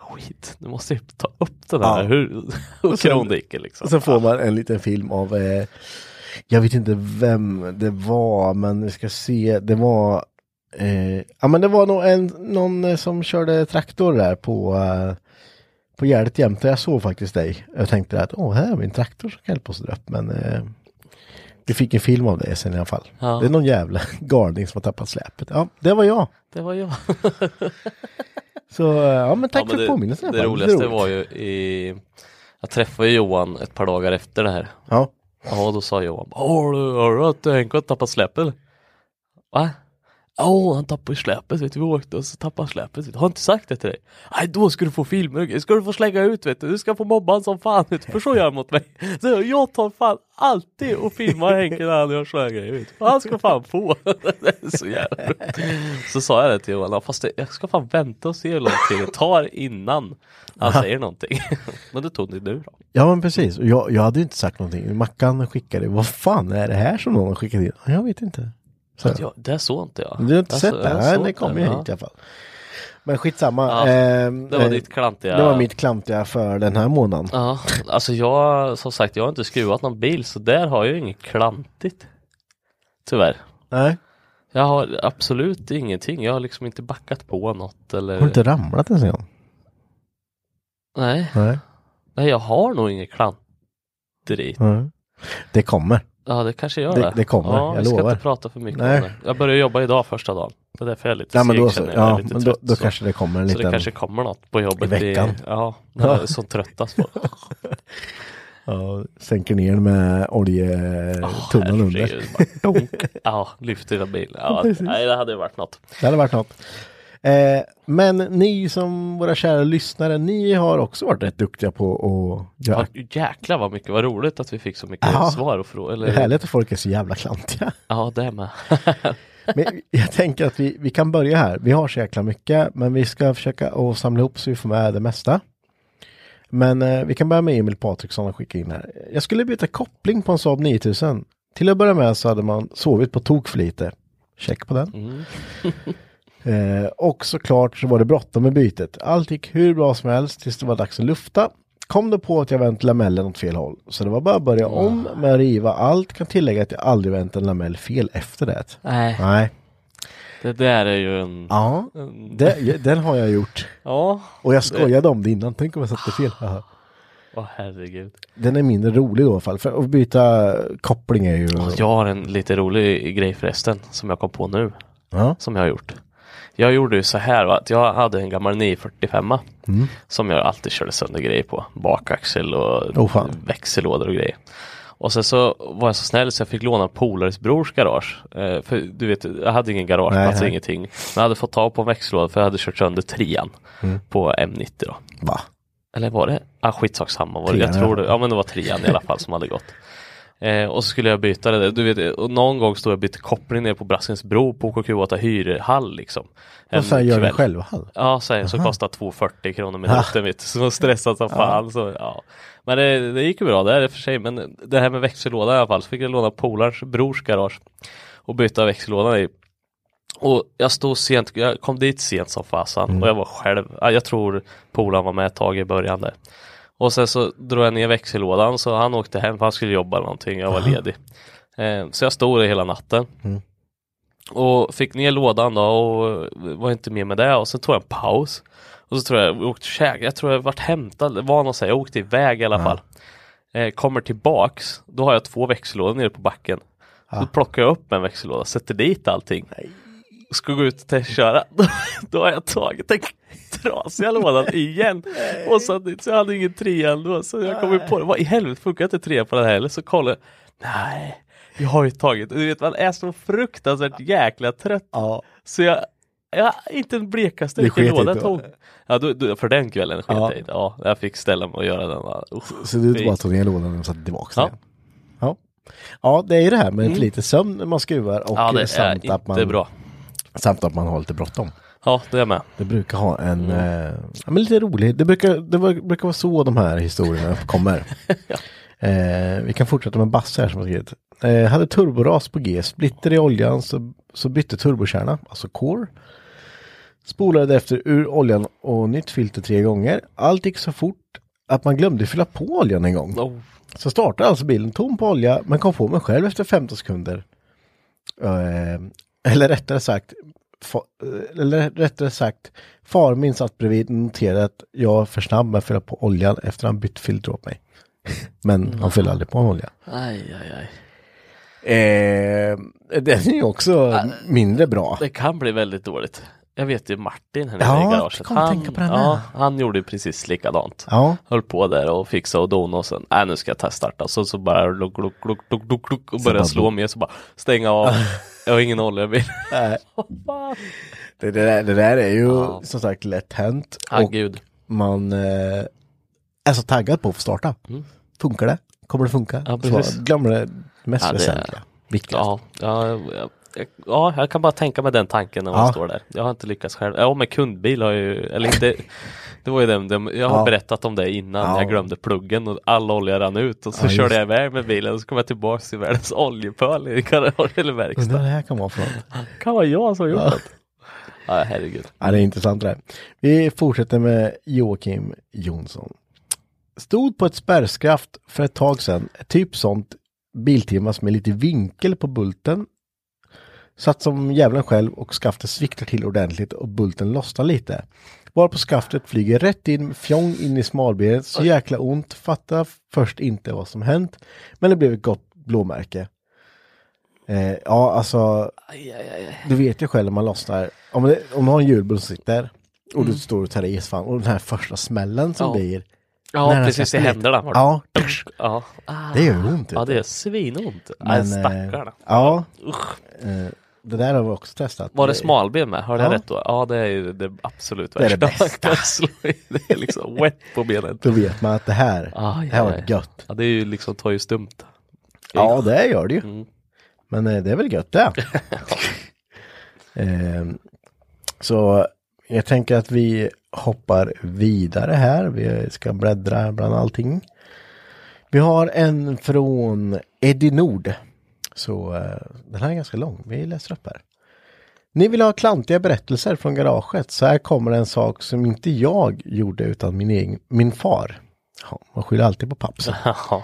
S2: skit, nu måste jag ta upp den här
S1: Ja.
S2: hur, <laughs> och
S1: sen-
S2: krondiket liksom.
S1: Och sen får man en liten film av, eh, jag vet inte vem det var, men vi ska se, det var, eh, ja men det var nog en, någon eh, som körde traktor där på, eh, på Gärdet jämte. Jag såg faktiskt dig. Jag tänkte att, åh, här har vi en traktor som kan hjälpa oss att dra upp, men eh, vi fick en film av det sen i alla fall.
S2: Ja.
S1: Det är någon jävla <laughs> galning som har tappat släpet. Ja, det var jag.
S2: Det var jag.
S1: Så eh, ja, men tack
S2: Ja, men
S1: för
S2: det-
S1: påminnelsen. i alla
S2: Det
S1: fall.
S2: roligaste
S1: roligt.
S2: var ju i jag träffade Johan ett par dagar efter det här.
S1: Ja.
S2: eh, Ja, och då sa Johan, har du hört att Henke har tappat släppet? Va? Åh, han tappade släpet vet du, vi åkte och så tappade han släpet. Vet du. Har jag inte sagt det till dig? Nej, då ska du få filmer, då ska du få slänga ut vet du, du ska få mobba han som fan vet du, för så gör han mot mig. <laughs> Så jag- jag tar fan alltid och filmar Henke när han gör såna här grejer vet du. Han ska fan få. <laughs> Det är så jävla roligt. Så sa jag det till Johan, fast det- jag ska fan vänta och se hur lång tid det tar innan han säger någonting. <laughs> Men det tog det nu då.
S1: Ja men precis, Och jag, jag hade ju inte sagt någonting. Mackan skickade, vad fan är det här som någon har skickat in? Jag vet inte. Så,
S2: Ja, det såg inte jag.
S1: Du har inte
S2: Jag
S1: sett
S2: så-
S1: det?
S2: Alltså, jag
S1: Nej,
S2: såg
S1: det kom
S2: inte,
S1: ju
S2: ja.
S1: hit i alla fall. Men skitsamma.
S2: Ja,
S1: Ehm,
S2: det var
S1: eh,
S2: ditt klantiga-
S1: Det var mitt klantiga för den här månaden.
S2: Ja, alltså jag som sagt jag har inte skruvat någon bil så där har jag ju inget klantigt. Tyvärr.
S1: Nej.
S2: Jag har absolut ingenting. Jag har liksom inte backat på något eller.
S1: Har du inte ramlat ens en gång?
S2: Nej,
S1: Nej.
S2: nej, jag har nog inget klantigt.
S1: Nej. Det kommer.
S2: Ja, det kanske gör
S1: Det-
S2: det.
S1: det kommer,
S2: ja,
S1: jag
S2: vi ska
S1: lovar.
S2: inte prata för mycket
S1: Nej.
S2: om det. Jag börjar jobba idag första dagen. Det är därför jag är lite
S1: Ja men då
S2: seg,
S1: så.
S2: känner jag. Jag
S1: Ja,
S2: är lite
S1: men då,
S2: trött,
S1: då
S2: så.
S1: kanske det kommer en
S2: Så det
S1: liten.
S2: kanske kommer något på jobbet.
S1: I veckan.
S2: ja, när jag är som tröttast på
S1: <laughs>
S2: det.
S1: Ja, sänker ner den med oljetunnan under.
S2: Herregud, bara donk. <laughs> Ja, lyft dina bilar. Ja, nej, det hade ju varit något.
S1: Det hade varit något. Eh, men ni som våra kära lyssnare, ni har också varit rätt duktiga på att göra.
S2: Ja, jäklar vad mycket, vad roligt att vi fick så mycket
S1: Ja.
S2: svar och frågor.
S1: Det är
S2: Eller...
S1: härligt att folk är så jävla klantiga.
S2: Ja, det med.
S1: Men jag tänker att vi, vi kan börja här. Vi har så jäkla mycket, men vi ska försöka att samla ihop så vi får med det mesta. Men eh, vi kan börja med Emil Patriksson och skicka in här. Jag skulle byta koppling på en Saab 9000. Till att börja med så hade man sovit på tok för lite. Check på den. <laughs> eh, och såklart så var det bråttom med bytet. Allt gick hur bra som helst tills det var dags att lufta. Kom då på att jag vänt lamellen åt fel håll. Så det var bara att börja om med att riva allt. Kan tillägga att jag aldrig vänt en lamell fel efter det.
S2: Nej,
S1: Nej.
S2: <laughs> det där är ju en...
S1: Ja, det, den har jag gjort.
S2: Ja,
S1: Och jag skojade om det innan, tänk om jag satte fel. Haha.
S2: åh herregud.
S1: Den är mindre rolig då i alla fall, för att byta koppling är ju...
S2: Alltså, Jag har en lite rolig grej förresten som jag kom på nu,
S1: Ja.
S2: som jag har gjort. Jag gjorde ju så här, va, att jag hade en gammal 945
S1: Mm.
S2: som jag alltid körde sönder grejer på. Bakaxel och
S1: Oh, fan.
S2: växellådor och grejer. Och sen så var jag så snäll så jag fick låna en polares brors garage. Eh, för du vet, jag hade ingen garageplats,
S1: Nej, nej.
S2: ingenting. Men jag hade fått tag på en växellåda för jag hade kört sönder trean
S1: Mm.
S2: på M90 då.
S1: Va?
S2: Eller var det? Ah, skitsak samma. Var det? Jag
S1: Trean,
S2: tror
S1: ja.
S2: det. Ja men det var trean i alla fall som hade gått.
S1: <laughs>
S2: Eh, och så skulle jag byta det där. Du vet, och någon gång stod jag och bytte koppling ner på Braskens bro på KQ8 hyrhall liksom. En
S1: Och sen gör den
S2: kväll.
S1: själv hall.
S2: Ja, så, här, så kostar 2,40 kronor minuten vet du. Så jag stressad som fan. Så, ja. Men det, det gick ju bra där i och för sig. Men det här med växellåda i alla fall. Så fick jag låna polars brors garage och byta växellådan i. Och jag stod sent, jag kom dit sent som fasan och jag var själv. Ja, Jag tror polaren var med ett tag i början där. Och sen så drog jag ner växellådan så han åkte hem för han skulle jobba eller någonting. Jag var ledig. Eh, så jag stod där hela natten. Och fick ner lådan då och var inte med med det och sen tog jag en paus. Och så tror jag jag åkte och käk, jag tror jag vart hämtad, var någon säger, jag åkte iväg i alla fall. Eh, kommer tillbaks, då har jag två växellådor nere på backen. Då plockar jag upp en växellåda, sätter dit allting. Och ska gå ut och testköra. <laughs> då har jag tagit den trasiga lådan igen. Och satt dit, så jag hade ingen trea ändå. Så jag kom ju på det, vad i helvete funkar inte trea på den här heller? Så kollar jag, nej. Jag har ju tagit, du vet man är så fruktansvärt jäkla trött.
S1: Ja.
S2: Så jag, jag inte den blekaste
S1: Det
S2: vilken
S1: sket
S2: låda jag
S1: inte, va?
S2: tog. <laughs> Ja, då, då, för den kvällen sket
S1: Ja.
S2: jag i det. Ja, jag fick ställa mig och göra den. va. Usch,
S1: Så du
S2: fy.
S1: bara tog ner lådan och satte tillbaka
S2: Ja. Mm.
S1: den. Ja. ja, det är ju det här med för lite sömn när man skruvar och
S2: Ja, det är
S1: samt,
S2: inte
S1: att man,
S2: bra.
S1: samt att man har lite bråttom.
S2: Ja, det är jag med.
S1: Det brukar ha en, eh, ja, men lite rolig, det brukar, det var- brukar vara så de här historierna <laughs> uppkommer. eh, vi kan fortsätta med Basse här som har skrivit. Eh, hade turboras på G, splitter i oljan så, så bytte turbokärna, alltså core. Spolade efter ur oljan och nytt filter tre gånger. Allt gick så fort att man glömde fylla på oljan en gång.
S2: Oh,
S1: Så startade alltså bilen tom på olja men kom på mig själv efter 15 sekunder. Eh, eller rättare sagt, fa, eh, eller rättare sagt, farmin satt bredvid och noterade att jag var för snabb med att fylla på oljan efter han bytt filter åt mig. <laughs> Men han fyllde aldrig på en olja.
S2: aj, aj, aj.
S1: Eh, den är ju också mindre bra.
S2: Det kan bli väldigt dåligt. Jag vet ju Martin här nere
S1: Ja,
S2: i garaget.
S1: kom att tänka på den här.
S2: ja, han gjorde ju precis likadant.
S1: Ja,
S2: Höll på där och fixade och donade och sen, nej nu ska jag teststarta. Så, så bara gluk, gluk, gluk, gluk, gluk, och började
S1: bara- <laughs>
S2: slå med så bara stänga av. Jag har ingen oljebil.
S1: Nej. det, det, där, det där är ju
S2: Ja.
S1: som sagt lätt hänt.
S2: Ah,
S1: och
S2: gud.
S1: man eh, är så taggad på att få starta. Funkar det? Kommer det funka?
S2: Mm. Ja,
S1: Så
S2: precis.
S1: glömmer det mest
S2: Ja, det-
S1: väsentliga. Viktigast.
S2: Ja, ja, jag- jag- ja, jag kan bara tänka mig den tanken när man
S1: Ja.
S2: står där. Jag har inte lyckats själv. Ja, med kundbil har jag ju, eller inte, <laughs> det var ju den, den jag har
S1: Ja.
S2: berättat om det innan.
S1: Ja.
S2: Jag glömde pluggen och all olja rann ut och så
S1: Ja, just
S2: körde jag iväg med bilen och så kom jag tillbaka till världens oljepöl i garage eller
S1: Undrar vad
S2: verkstad.
S1: det här kan vara för något.
S2: Kan vara jag som har gjort det. Ja, herregud.
S1: Ja, det är intressant det här. Vi fortsätter med Joakim Jonsson. Stod på ett spärrskaft för ett tag sedan. Ett Typ sånt Biltemas med lite vinkel på bulten. Satt som djävulen själv och skaftet sviktar till ordentligt och bulten lossnar lite. Varpå skaftet flyger rätt in, fjong in i smalbenet, så jäkla ont, fattar först inte vad som hänt. Men det blev ett gott blåmärke. Eh, ja, alltså, du vet ju själv när man lossnar, om, det, om du har en hjulbult som sitter och du står och tar i fan, och den här första smällen som
S2: Ja.
S1: blir.
S2: Ja,
S1: när den
S2: precis i
S1: sätter dit.
S2: händerna. var det.
S1: Ja,
S2: ja.
S1: det gör ont.
S2: Ja,
S1: vet du.
S2: det är svinont. Nej,
S1: Men, eh,
S2: stackarna.
S1: Ja, eh, det där har vi också testat.
S2: Var det smalben med? Hörde jag
S1: Ja.
S2: rätt då? Ja det är ju det absolut
S1: Det är det
S2: värsta. man <laughs>
S1: bästa.
S2: kan slå i. det är liksom wet på benet.
S1: Då vet man att det här,
S2: Ah,
S1: det här var
S2: ja, ja.
S1: gött.
S2: Ja det är ju liksom tar ju stumt.
S1: Ja, det gör det ju.
S2: Mm.
S1: Men eh, det är väl gött det. Ehm, så jag tänker att vi hoppar vidare här. Vi ska bläddra bland allting. Vi har en från Eddie Nord. Så eh, den här är ganska lång. Vi läser upp här. Ni vill ha klantiga berättelser från garaget. Så här kommer en sak som inte jag gjorde utan min, egen, min far. Ja, man skyller alltid på pappsen.
S2: Ja.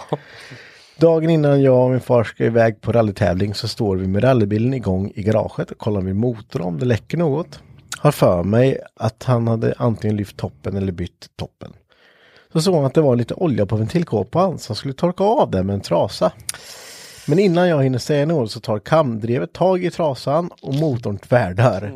S1: Dagen innan jag och min far ska iväg på rallytävling så står vi med rallybilen igång i garaget och kollar min motor om det läcker något. Har för mig att han hade antingen lyft toppen eller bytt toppen. Så såg han att det var lite olja på ventilkåpan så han skulle torka av den med en trasa. Men innan jag hinner säga något så tar kamdrevet tag i trasan och motorn tvärdör.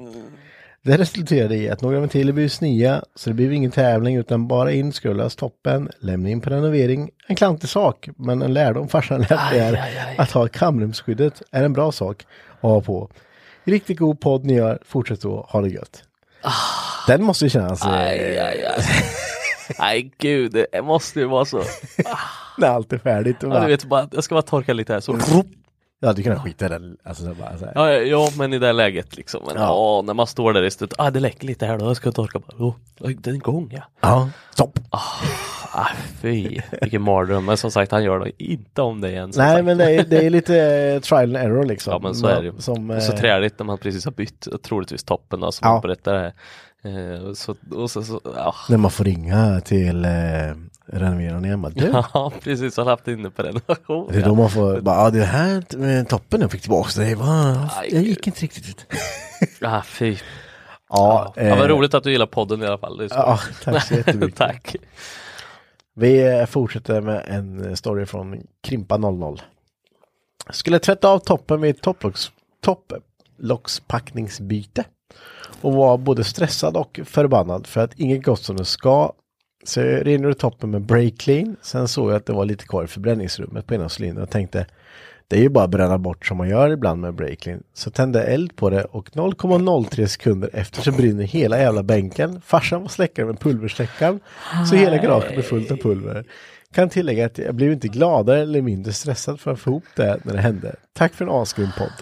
S1: Det resulterade i att några ventiler blev snia så det blev ingen tävling utan bara in skrullas toppen, lämna in på renovering. En klantig sak, men en lärdom farsan lät mig är att ha kamrumsskyddet är en bra sak att ha på. Riktigt god podd ni gör, fortsätt då, ha det gött. Den måste ju kännas eh,
S2: Ah. Aj, aj, aj. Nej gud, det måste ju vara så.
S1: <laughs> när allt är färdigt. Och
S2: Ja, du
S1: bara,
S2: vet, bara, jag ska bara torka lite här så.
S1: Mm.
S2: Rup.
S1: jag hade kunnat skita i den. Alltså, så bara, så här.
S2: Ja, ja, ja men i det läget liksom. Men, ja.
S1: Ja.
S2: när man står där i slutet. Ah, det läcker lite här då, jag ska torka. Bara, oh, den är igång ja.
S1: Ja, stopp.
S2: Ah, fy, vilken mardröm. Men som sagt han gör det inte om det igen. som
S1: Nej,
S2: sagt.
S1: men det är, det är lite eh, trial and error liksom.
S2: Ja men så är det ju.
S1: Som,
S2: och så
S1: eh,
S2: träligt när man precis har bytt troligtvis toppen då, som
S1: Ja.
S2: man berättar här. Eh, och så, och så, så ja. <laughs>
S1: När man får ringa till eh, renoveraren igen. bara, Du,
S2: ja, precis, har haft inne på <laughs> renovation.
S1: Det är då man får, bara, ja det här med toppen jag fick tillbaka, det var,
S2: Aj,
S1: jag gick inte riktigt ut.
S2: Ah, fy.
S1: Ja, eh,
S2: ja, vad roligt att du gillar podden i alla fall. Det är så. <laughs>
S1: Ja, tack så jättemycket.
S2: Tack.
S1: Vi eh, fortsätter med en story från Krimpa00. Skulle tvätta av toppen vid topplocks, topplockspackningsbyte. Och var både stressad och förbannad för att inget gått som det ska. Så jag rengjorde toppen med break clean. Sen såg jag att det var lite kvar i förbränningsrummet på ena cylindern och tänkte det är ju bara att bränna bort som man gör ibland med break clean. Så tände jag eld på det och 0,03 sekunder efter så brinner hela jävla bänken. Farsan var släckare med pulversläckaren. Så hela garaget blev fullt av pulver. Kan tillägga att jag blev inte gladare eller mindre stressad för att få ihop det när det hände. Tack för en asgrym podd.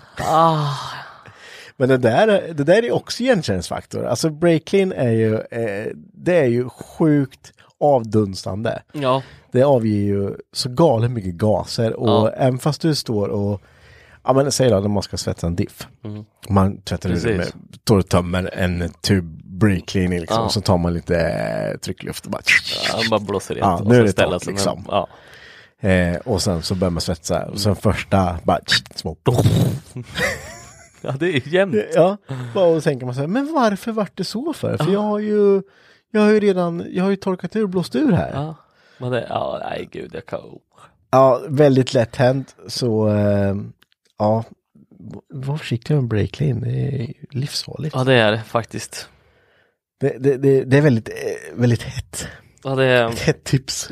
S1: Men det där, det där är också igenkänningsfaktor. Alltså break-clean är ju, eh, det är ju sjukt avdunstande.
S2: Ja,
S1: Det avger ju så galet mycket gaser och
S2: Ja.
S1: även fast du står och, ja men säg då när man ska svetsa en diff. Man tvättar ur det med,
S2: Mm. Precis.
S1: står och tömmer en tub break-clean i liksom,
S2: Ja.
S1: och så tar man lite eh, tryckluft och bara
S2: han bara blåser rent.
S1: Ja,
S2: och
S1: nu
S2: så
S1: är det
S2: ställer
S1: torrt,
S2: sig
S1: liksom.
S2: ner. Ja.
S1: Eh, och sen så börjar man svetsa. Och sen första bara små.
S2: ja, det är jämnt.
S1: Ja, bara och så tänker man så här, men varför vart det så för? För jag har ju, jag har ju redan, jag har ju torkat ur, blåst ur här. Ja,
S2: Ja. Men det, ja, nej gud, jag kan... oh.
S1: väldigt lätt hänt. Så eh, ja, var försiktig med breaklin, det är livsfarligt.
S2: Ja, det är det faktiskt.
S1: Det, det, det, det är väldigt, eh, väldigt hett.
S2: Ja, det är...
S1: Ett tips.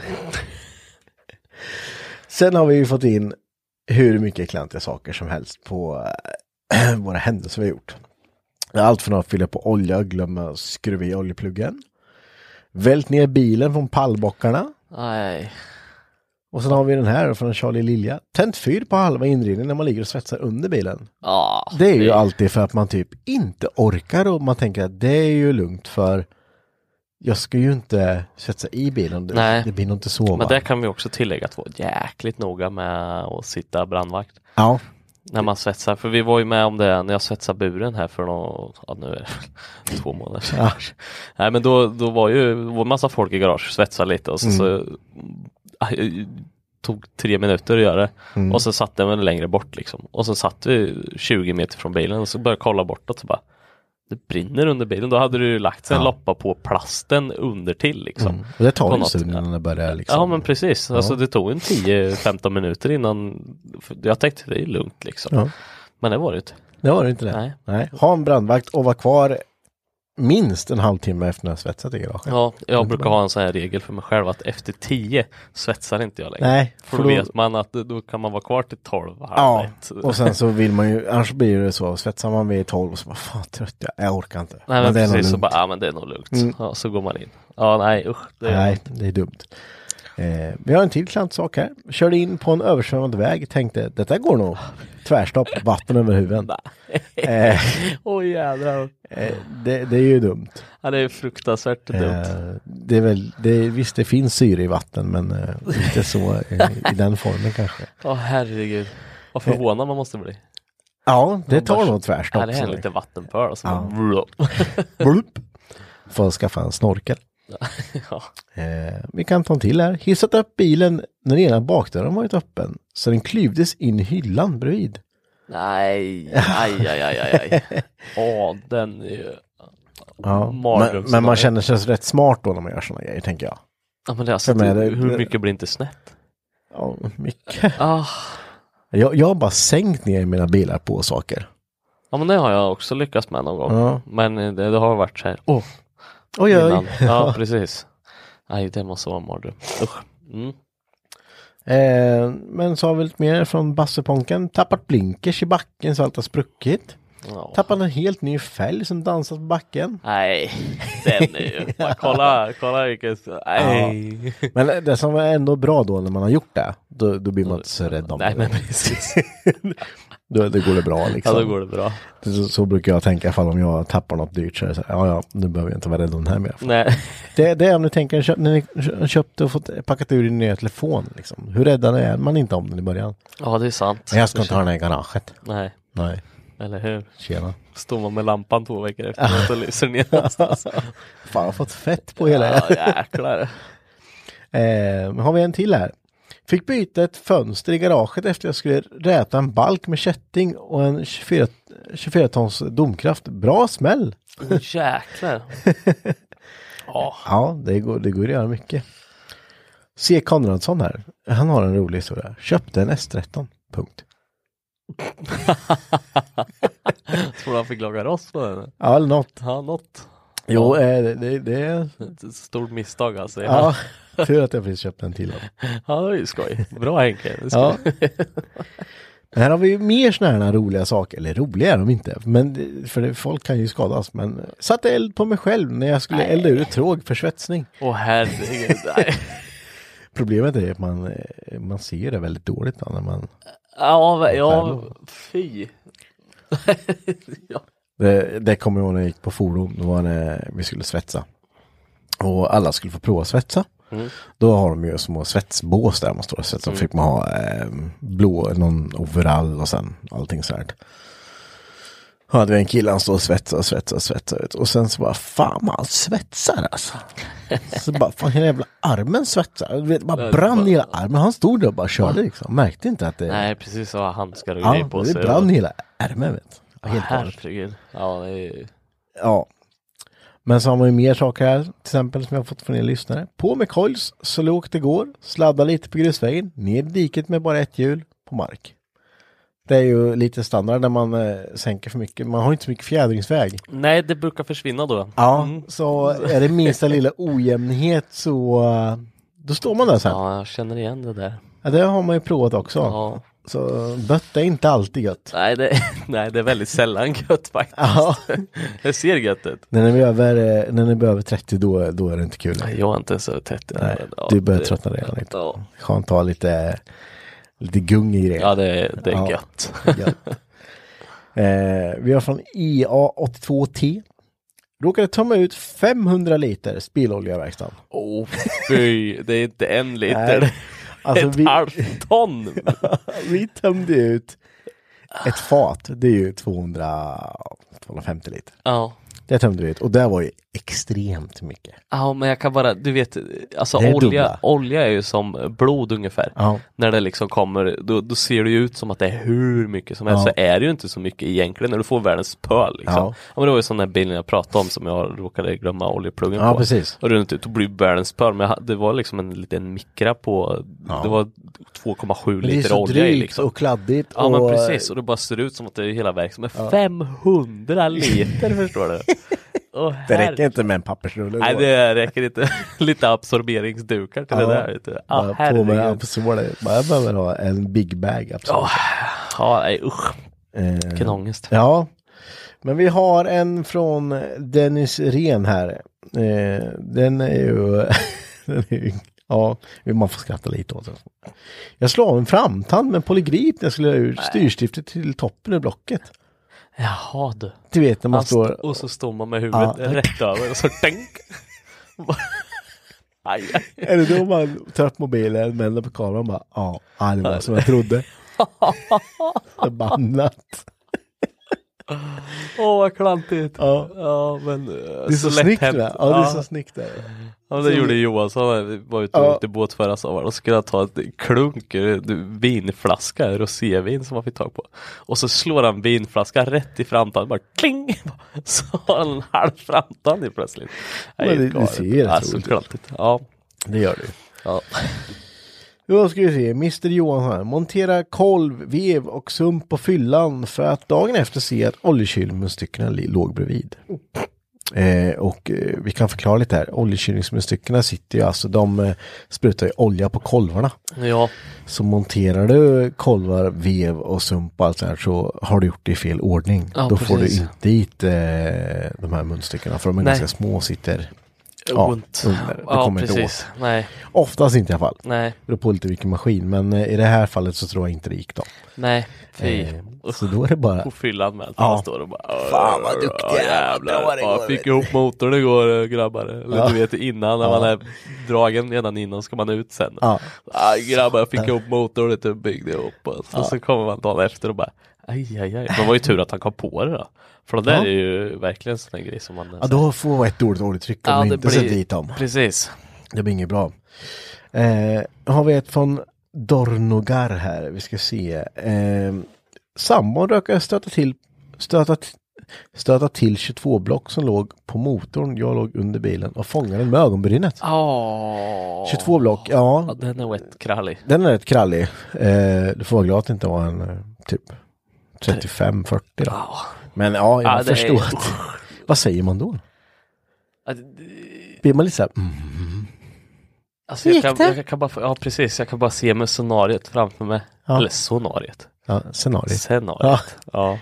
S1: Sen har vi ju fått in hur mycket klantiga saker som helst på eh, <clears throat> våra händelser vi har gjort. Det är Allt från att fylla på olja, glömma skruva i oljepluggen. Vält ner bilen från pallbockarna.
S2: Nej.
S1: Och sen har vi den här från Charlie Lilja. Tänt fyr på halva inredningen när man ligger och svetsar under bilen.
S2: Ja.
S1: Det är ju alltid för att man typ inte orkar och man tänker att det är ju lugnt för jag ska ju inte svetsa i bilen. Det,
S2: Nej.
S1: det blir nog inte så.
S2: Men
S1: va?
S2: det kan vi också tillägga att vara jäkligt noga med att sitta brandvakt
S1: Ja,
S2: när man svetsar. För vi var ju med om det när jag svetsade buren här för någon, ja, nu är det <laughs> två månader sedan. kanske. Nej men då, då var ju det var massa folk i garaget svetsade lite och så, så aj, tog tre minuter att göra det. Och så satt den väl längre bort liksom. Och så satt vi 20 meter från bilen och så började jag kolla bortåt och bara det brinner under bilen. Då hade du ju lagt sig en loppa på plasten under till liksom.
S1: och det tar
S2: På
S1: ju en
S2: något-
S1: stund innan det börjar liksom.
S2: Ja men precis, alltså det tog en 10-15 minuter innan för jag tänkte det är lugnt liksom.
S1: Ja.
S2: Men det var det inte.
S1: Det var det inte det.
S2: Nej.
S1: Ha en brandvakt och vara kvar minst en halvtimme efter när jag svetsat i garaget.
S2: Ja,
S1: Mm.
S2: jag brukar ha en sån här regel för mig själv att efter 10 svetsar inte jag längre.
S1: Nej,
S2: för
S1: för
S2: då,
S1: då-
S2: vet man att då kan man vara kvar till 12, halv
S1: Ja,
S2: ett.
S1: och sen så vill man ju, annars blir det så, svetsar man vid tolv och så bara fan trött jag, är, jag orkar inte.
S2: <laughs> Nej men,
S1: det är nog
S2: precis,
S1: lugnt.
S2: så
S1: Mm.
S2: bara, ja men det är nog lugnt. Ja, så går man in. Ja nej usch. Det är...
S1: Nej, det är dumt. Eh, vi har en till klantsak här. Körde in på en översvämmad väg, tänkte detta går nog. Tvärstopp, vatten över huven. Eh,
S2: Åh jädrar.
S1: eh, det, det är ju dumt.
S2: Ja, det är fruktansvärt <laughs> dumt.
S1: Eh, det är väl, det, visst det finns syre i vatten men eh, inte så eh, i den formen kanske.
S2: Åh herregud. Vad förvånad man måste bli.
S1: Ja, det tar
S2: bara-
S1: nog
S2: Ja,
S1: tvärstopp.
S2: det är en
S1: sådär.
S2: liten vattenpöl och så
S1: Ja.
S2: bara, <laughs>
S1: Blup. Får skaffa en snorkel.
S2: ja.
S1: Eh, vi kan ta en till här. Hissat upp bilen när ena bakdörren varit öppen så den klyvdes in i hyllan bredvid.
S2: Nej, aj, aj, aj, aj, <laughs> aj. Åh, den är ju...
S1: Ja, men,
S2: Mardrömsscenario.
S1: men man känner sig rätt smart då när man gör sådana grejer tänker jag.
S2: Ja, men det är alltså,
S1: För mig är det-
S2: hur mycket blir inte snett?
S1: Ja, mycket.
S2: Ah,
S1: Jag, jag har bara sänkt ner mina bilar på saker.
S2: ja, men det har jag också lyckats med någon gång.
S1: Ja.
S2: Men det, det har varit så här, åh,
S1: Oj, <laughs>
S2: innan.
S1: oj.
S2: Ja, precis. Nej, det måste vara en mardröm. Usch. Mm.
S1: Eh, men så har vi lite mer från Basseponken. Tappat blinkers i backen så allt har spruckit.
S2: Ja.
S1: Tappat en helt ny fälg som dansat på
S2: <laughs>
S1: backen.
S2: Nej, den är <laughs> ju... Bara kolla, kolla vilket... Nej.
S1: Men det som är ändå bra då när man har gjort det, då, då blir man inte så rädd om
S2: Nej,
S1: det.
S2: men precis.
S1: <laughs> Då, då går det bra liksom.
S2: Ja, då går det bra.
S1: Så, så brukar jag tänka ifall om jag tappar något dyrt så är det så här, ja ja, nu behöver jag inte vara rädd om det här mer.
S2: Nej.
S1: Det, det är om ni tänker, kö- när ni kö- köpte och fått packat ur din nya telefon liksom. Hur rädda är man inte om den i början?
S2: <laughs> Ja, det är sant.
S1: Jag ska inte ha den här i garaget.
S2: Nej,
S1: Nej,
S2: eller hur?
S1: tjena.
S2: Står man med lampan två veckor efteråt och lyser ner någonstans.
S1: <laughs> Fan, jag har fått fett på hela.
S2: Ja, jäklar.
S1: Eh, har vi en till här. Fick byta ett fönster i garaget efter jag skulle räta en balk med kätting och en 24, 24 tons domkraft. Bra smäll!
S2: Åh, Jäklar.
S1: Ja, det går, det går att göra mycket. C. Konradsson här. Han har en rolig historia. Köpte en S13. Punkt.
S2: Tror du han fick laga rost på den?
S1: Ja, eller något.
S2: Ja, något.
S1: Jo, eh, det, det, det
S2: Ett stort misstag alltså. Ja,
S1: Ja, tur att jag precis köpte en till. av.
S2: ja det är ju skoj. Bra Henke. Det är
S1: Ja.
S2: skoj.
S1: <laughs> Men här har vi ju mer sådana här roliga saker, eller roliga är de inte, men det- för det, folk kan ju skadas. Men satte eld på mig själv när jag skulle elda ur ett tråg för svetsning.
S2: Åh herregud. Nej.
S1: Problemet är att man, eh, man ser det väldigt dåligt då, när man...
S2: Ja, va- ja, fy.
S1: Det, det kommer jag ihåg när jag gick på fordon, då var det, vi skulle svetsa. Och alla skulle få prova att svetsa. Då har de ju små svetsbås där man står och svetsar. fick man ha eh, blå, någon overall och sen allting så här. Då hade vi en kille, han stod och svetsade och svetsade och svetsade. ut. Och sen så bara, fan vad han svetsar alltså. Så bara, fan hela jävla armen svetsar. Du vet, bara brann hela armen. Han stod där och bara körde liksom. Märkte inte att det,
S2: Nej, precis så har handskar och grejer
S1: ja,
S2: på
S1: det
S2: sig.
S1: brann hela ärmen. Vet. du.
S2: Åh,
S1: Helt galet.
S2: Herregud. Ja, det är...
S1: Ja. Men så har man ju mer saker här, till exempel som jag har fått från er lyssnare. På med coils, så lågt det går, sladda lite på grusvägen, ner i diket med bara ett hjul på mark. Det är ju lite standard när man eh, sänker för mycket, man har ju inte så mycket fjädringsväg.
S2: Nej, det brukar försvinna då.
S1: Ja. Så är det minsta lilla ojämnhet så eh, då står man där sen. Ja.
S2: Ja, jag känner igen det där.
S1: det har man ju provat också.
S2: Ja.
S1: Så bött är inte alltid gött.
S2: Nej det, <laughs> nej, det är väldigt sällan gött faktiskt.
S1: Ja.
S2: <laughs> Det ser gött ut.
S1: när ni blir över, eh, när ni blir över 30 då, då är det inte kul.
S2: Nej, jag är inte så tätt. i det här.
S1: Nej,
S2: Ja,
S1: du börjar
S2: det-
S1: tröttna redan lite.
S2: Ja,
S1: Skönt att ha lite, lite gung i grejer.
S2: ja det, det är
S1: Ja.
S2: gött.
S1: Gött. eh, vi har från IA82T. Råkade tömma ut 500 liter spillolja i verkstaden.
S2: Åh fy, det är inte en
S1: Nej,
S2: liter. det är
S1: alltså
S2: ett
S1: vi-
S2: halvt ton.
S1: <laughs> Vi tömde ut ett fat, det är ju 200, 250 liter.
S2: Ja.
S1: Det tömde vi ut och det var ju extremt mycket.
S2: ja, men jag kan bara, du vet, alltså
S1: Det är
S2: olja,
S1: dubbla.
S2: olja är ju som blod ungefär.
S1: Ja.
S2: När det liksom kommer, då, då ser det ju ut som att det är hur mycket som helst.
S1: Ja.
S2: Så är det ju inte så mycket egentligen när du får världens pöl. Liksom. Ja.
S1: Ja.
S2: men det var ju sån där bilen jag pratade om som jag råkade glömma oljepluggen
S1: Ja,
S2: på.
S1: precis.
S2: Och runt ut, då blir det världens pöl. Men jag, ha- det var liksom en liten mikra på, det var 2,7
S1: Men det är
S2: liter
S1: så
S2: olja i
S1: drygt
S2: liksom.
S1: och kladdigt.
S2: Ja
S1: och, eh,
S2: men precis, och det bara ser ut som att det är hela verksamheten.
S1: <laughs>
S2: Men 500 liter förstår du! Åh,
S1: Det
S2: herre-
S1: räcker inte med en pappersrulle.
S2: Nej det räcker inte. <laughs> Lite absorberingsdukar till
S1: Ja.
S2: det där. Vet du. Ah,
S1: Bara på med
S2: herregud.
S1: absorber. Bara Jag behöver ha en big bag. Absolut.
S2: Ja, nej usch.
S1: Eh,
S2: Vilken ångest.
S1: Ja, men vi har en från Dennis Ren här. Eh, den är ju... <laughs> den är ju ja, man får skratta lite åt den. Jag slår av en framtand med polygrip när jag skulle ha ur styrstiftet till toppen ur blocket.
S2: Jaha du.
S1: Du vet när man
S2: Han st-
S1: står...
S2: Och så står man med huvudet
S1: Ja.
S2: rätt över och så
S1: <laughs>
S2: tänk. aj, aj.
S1: Är det då man tar upp mobilen, vänder på kameran och bara ja, ja, det var som jag
S2: <laughs>
S1: trodde. Förbannat.
S2: Åh vad klantigt.
S1: Ja.
S2: Ja men. eh,
S1: Det är så,
S2: lätt
S1: snyggt
S2: hänt.
S1: det. Ja, det är så snyggt det.
S2: Ja men det gjorde Johansson, när vi var ute och
S1: Ja.
S2: åkte båt förra sommaren och skulle han ta ett klunk eh, vinflaska, rosévin som han fick tag på. Och så slår han vinflaskan rätt i framtanden, bara kling! <laughs> Så har han en halv framtand i plötsligt. Nej,
S1: Men det- det
S2: galet.
S1: ser ju rätt
S2: alltså,
S1: roligt ut.
S2: klantigt. Ja.
S1: Det gör du.
S2: ja.
S1: Då ska vi se, Mr Johan här. Montera kolv, vev och sump på fyllan för att dagen efter se att oljekylmunstyckena li- låg bredvid. Eh, och eh, vi kan förklara lite här. Oljekylmunstyckena sitter ju alltså, de eh, sprutar ju olja på kolvarna.
S2: ja.
S1: Så monterar du kolvar, vev och sump och allt så här så har du gjort det i fel ordning.
S2: Ja,
S1: Då får du
S2: precis.
S1: inte dit eh, de här munstyckena för de är
S2: Nej.
S1: ganska små och sitter
S2: ja.
S1: Ja,
S2: Ont.
S1: under. Du
S2: Ja,
S1: kommer inte
S2: precis. Nej,
S1: oftast inte i alla fall.
S2: nej,
S1: Det beror på lite vilken maskin men eh, i det här fallet så tror jag inte det gick då.
S2: nej. Fy.
S1: Eh, Så då är det bara,
S2: På fyllan med allt.
S1: Ja.
S2: Han står och bara
S1: Fan, vad duktiga
S2: Ja,
S1: vad bra
S2: jävlar.
S1: det
S2: Ja,
S1: går,
S2: fick
S1: vet
S2: ihop motorn igår eh, grabbar. Eller du vet innan när man är dragen redan innan ska man ut sen.
S1: Ja.
S2: Ah, grabbar jag fick ihop motorn lite byggde ihop och så, så kommer man dagen efter och bara aj aj aj. Men det var ju tur att han kom på det då. För det där
S1: Ja.
S2: är ju verkligen en sån där grej som man
S1: ja då får man ett dåligt oljetryck om
S2: Ja,
S1: man
S2: det
S1: inte
S2: blir-
S1: ser dit dem.
S2: Precis.
S1: Det blir inget bra. Eh, har vi ett från Dornogar här, vi ska se. Eh, Sambon råkade stöta till, stöta, t- stöta till 22 block som låg på motorn, jag låg under bilen och fångade den med ögonbrynet.
S2: Oh.
S1: 22 block, ja.
S2: Den är rätt krallig.
S1: Den är rätt krallig. Eh, du får vara glad att det inte var en eh, typ 35-40 då.
S2: Ja.
S1: Men ja, jag
S2: Ja, det är-
S1: förstår. att-
S2: <laughs>
S1: Vad säger man då?
S2: Att-
S1: Blir man lite så här, mm.
S2: Alltså jag, kan, jag kan bara, ja precis, jag kan bara se med scenariot framför mig.
S1: Ja.
S2: Eller scenariot.
S1: ja, scenariet. Ja.
S2: Scenariot. Ja.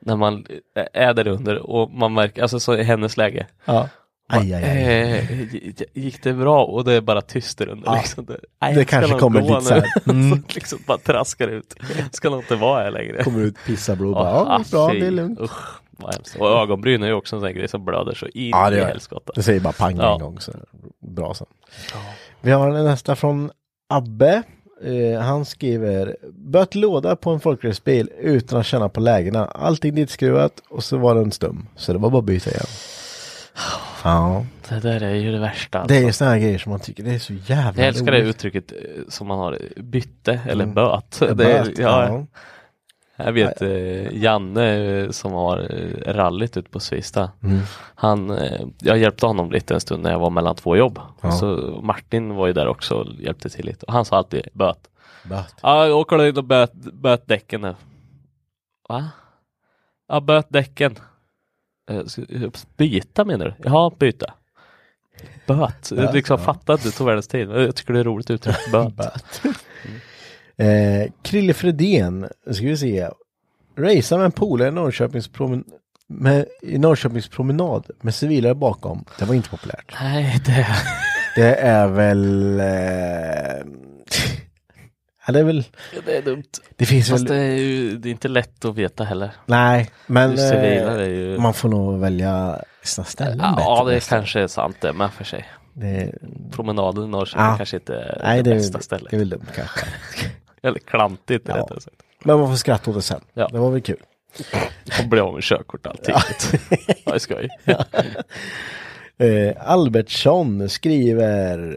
S2: När man eh, är där under och man märker, alltså så i hennes läge.
S1: Ja. Aj, aj, aj.
S2: Eh, g- g- gick det bra? Och det är bara tyst där under.
S1: Ja.
S2: Liksom. Det, nej,
S1: Det
S2: ska
S1: kanske
S2: någon
S1: kommer
S2: gå
S1: lite så här,
S2: nu?
S1: mm.
S2: <laughs> så liksom bara traskar ut. Ska nog inte vara här längre.
S1: Kommer ut pissablod.
S2: Åh,
S1: bara, Ja, det är bra,
S2: fy.
S1: det är lugnt.
S2: Usch, vad hemskt. Och ögonbryn är ju också en sån här grej som blöder så in
S1: Ja, det
S2: i
S1: gör
S2: helskotta.
S1: Det säger bara pang
S2: Ja.
S1: en gång. Så bra sen. Vi har en nästa från Abbe. Eh, han skriver Böt låda på en folkracebil utan att känna på lägena. Allting ditskruvat och så var den stum. Så det var bara att byta igen. Ja,
S2: Det där är ju det värsta.
S1: det är
S2: alltså.
S1: ju såna här grejer som man tycker det är så jävla
S2: Jag älskar det
S1: roligt.
S2: uttrycket eh, som man har, bytte eller
S1: Mm.
S2: böt. Det är,
S1: Böt,
S2: ja,
S1: ja.
S2: Jag vet eh, Janne eh, som har eh, rallyt ut på Svista. Han, eh, jag hjälpte honom lite en stund när jag var mellan två jobb.
S1: Ja.
S2: Så Martin var ju där också och hjälpte till lite. Och han sa alltid böt.
S1: Böt.
S2: Ja, jag åker dit och böt, böt däcken nu. Va? Ja, böt däcken. Eh, ska- Byta menar du? Ja, byta.
S1: <laughs>
S2: Böt. Jag liksom fattar inte tog världens tid. men Jag tycker det är roligt uttryck. Böt.
S1: Böt. Eh, Krille Fredén, ska vi se. Racear med en polare i Norrköpingspromen- med- i Norrköpingspromenad med civilare bakom. Det var inte populärt.
S2: Nej, det...
S1: Det är väl... Eh... <laughs> ja, det är väl...
S2: Det är dumt.
S1: Det finns väl...
S2: Fast det är ju det är inte lätt att veta heller.
S1: Nej, men
S2: Just civilare
S1: eh,
S2: är ju-
S1: man får nog välja sina ställen
S2: Ja,
S1: bättre
S2: det
S1: nästan.
S2: kanske är sant det med för sig.
S1: Det,
S2: Promenaden i Norrköping
S1: Ja.
S2: kanske inte är
S1: nej,
S2: det,
S1: det, är-
S2: bästa stället.
S1: det är väl dumt kanske.
S2: Eller klantigt
S1: Ja.
S2: rättare sagt.
S1: Men man får skratta åt det sen.
S2: Ja.
S1: Det var väl kul.
S2: Och bli av med körkort och allting. Ja, det ska ju.
S1: Eh, Albertsson skriver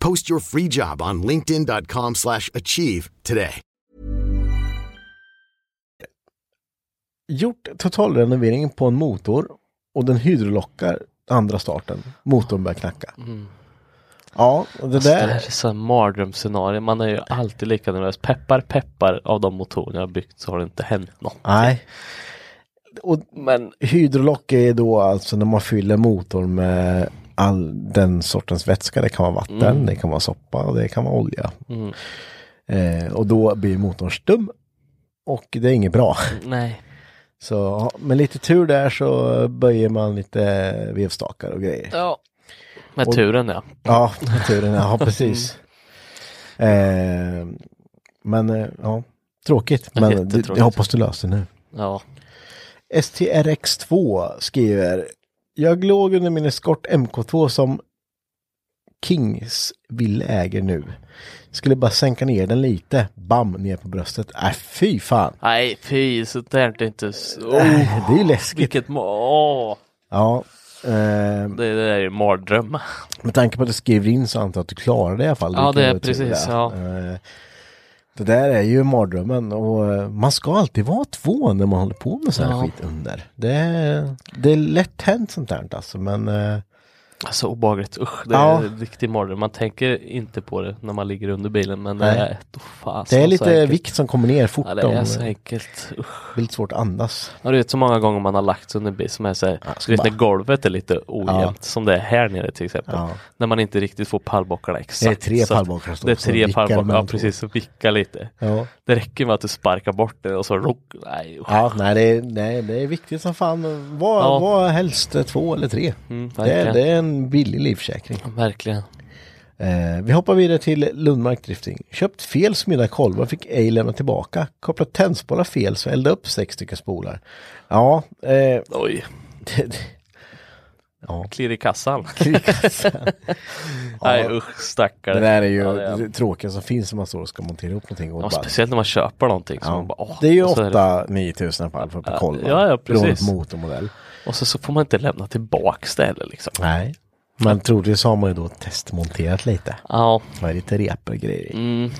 S3: Post your free job on linkedin.com/achieve slash achieve today.
S1: Gjort totalrenoveringen på en motor och den hydrolockar andra starten. Motorn börjar knacka. Ja, och det
S2: Alltså, det här är
S1: där.
S2: så här mardrömsscenario. Man är ju alltid lika nervös. Peppar, peppar av de motorer jag har byggt så har det inte hänt något.
S1: Nej. Och
S2: Men
S1: hydrolock är då alltså när man fyller motorn med all den sortens vätska. Det kan vara vatten, det kan vara soppa och det kan vara olja. Eh, och då blir motorn stum. Och det är inget bra.
S2: nej.
S1: Så ja, med lite tur där så böjer man lite vevstakar och grejer.
S2: Ja. Med turen ja.
S1: Ja, med turen.
S2: <laughs>
S1: Ja, precis.
S2: Mm.
S1: Eh, men eh, ja, tråkigt. Men det-
S2: Jättetråkigt.
S1: jag hoppas du löser det nu.
S2: Ja.
S1: STRX2 skriver Jag låg under min eskort MK2 som Kings vill äger nu. Skulle bara sänka ner den lite. Bam, ner på bröstet. Äh, fy fan.
S2: Nej, fy, så där är inte så... Oh,
S1: Äh, det är ju läskigt.
S2: vilket... ma- Åh,
S1: Ja. Eh,
S2: det, det där är ju mardröm.
S1: Med tanke på att du skriver in så antar jag att du klarar det i alla fall.
S2: Ja,
S1: kan
S2: det är
S1: vara tur
S2: precis, ja.
S1: Eh, Det där är ju mardrömmen och eh, man ska alltid vara två när man håller på med sån här
S2: Ja.
S1: skit under. Det är, det är lätt hänt sånt här alltså men eh,
S2: Alltså obehagligt, usch. Det
S1: Ja.
S2: är en riktig mardröm. Man tänker inte på det när man ligger under bilen. Men det
S1: Nej.
S2: är, oh, fan,
S1: det är
S2: så
S1: lite
S2: enkelt.
S1: vikt som kommer ner fort.
S2: Ja, det är
S1: om-
S2: så enkelt. Usch.
S1: det är lite svårt att andas.
S2: Ja, du vet så många gånger man har lagt sig under en bil som är så här,
S1: ska
S2: du vet
S1: bara-
S2: när golvet är lite ojämnt som det är här nere till exempel.
S1: Ja.
S2: När man inte riktigt får pallbockarna exakt.
S1: Det är tre
S2: så att-
S1: pallbockar som
S2: Det är
S1: står och
S2: tre
S1: vickar
S2: pallbockar,
S1: mellan
S2: ja
S1: två.
S2: precis, så vicka lite.
S1: Ja.
S2: Det räcker med att du sparkar bort det och så rock, nej usch.
S1: Ja, nej det, är, nej, det är viktigt som fan. Var,
S2: Ja.
S1: var helst eh, två eller tre.
S2: Mm,
S1: det, är,
S2: verkligen.
S1: det är en billig livförsäkring.
S2: Verkligen.
S1: Eh, vi hoppar vidare till Lundmark Drifting. Köpt fel smidda kolvar fick ej lämna tillbaka. Kopplat tändspolar fel så eldade upp sex stycken spolar. Ja, eh, <laughs> det,
S2: Oj,
S1: det, ja.
S2: klirr i kassan.
S1: ja,
S2: Nej usch stackare.
S1: alltså- det där är ju
S2: <laughs> Ja,
S1: det tråkiga som finns när man står och ska montera ihop någonting. Och
S2: Ja,
S1: bara,
S2: speciellt när man köper någonting. Så man
S1: ja.
S2: bara, åh,
S1: det är ju
S2: och så
S1: ofta 9000 på alla fall på kolvar.
S2: ja, ja,
S1: beroende
S2: precis.
S1: på motormodell.
S2: och så, så får man inte lämna tillbaks det heller liksom.
S1: Nej, men troligtvis har man ju då testmonterat lite.
S2: Ja,
S1: Det var lite repor och grejer i.
S2: Mm.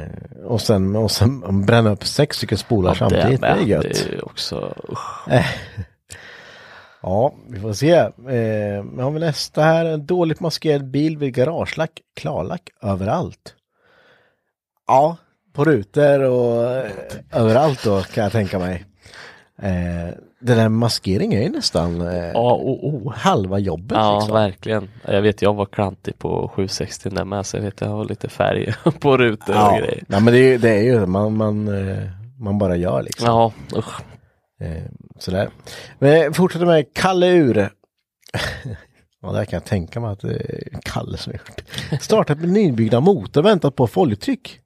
S1: eh, och, sen, och sen bränna upp sex stycken spolar
S2: ja,
S1: samtidigt. Det är
S2: med.
S1: gött.
S2: Det är ju också, usch.
S1: Ja, vi får se. Eh, men har vi nästa här. En dåligt maskerad bil vid garagelack, klarlack överallt. Ja, på rutor och eh, överallt då kan jag tänka mig. Eh, den där maskeringen är ju nästan eh,
S2: Ja, och oh.
S1: halva jobbet.
S2: Ja,
S1: liksom.
S2: verkligen. Jag vet, jag var klantig på 760 där med, så jag vet, jag har lite färg <laughs> på rutor och
S1: ja.
S2: grejer.
S1: Nej, men det är, ju- det är ju man, man, eh, man bara gör liksom.
S2: Ja, usch.
S1: Eh, sådär. Men fortsätter med Kalle Ur. <laughs> ja, där kan jag tänka eh, mig att det är Kalle som har gjort. Startat med nybyggda motor, väntat på folktryck.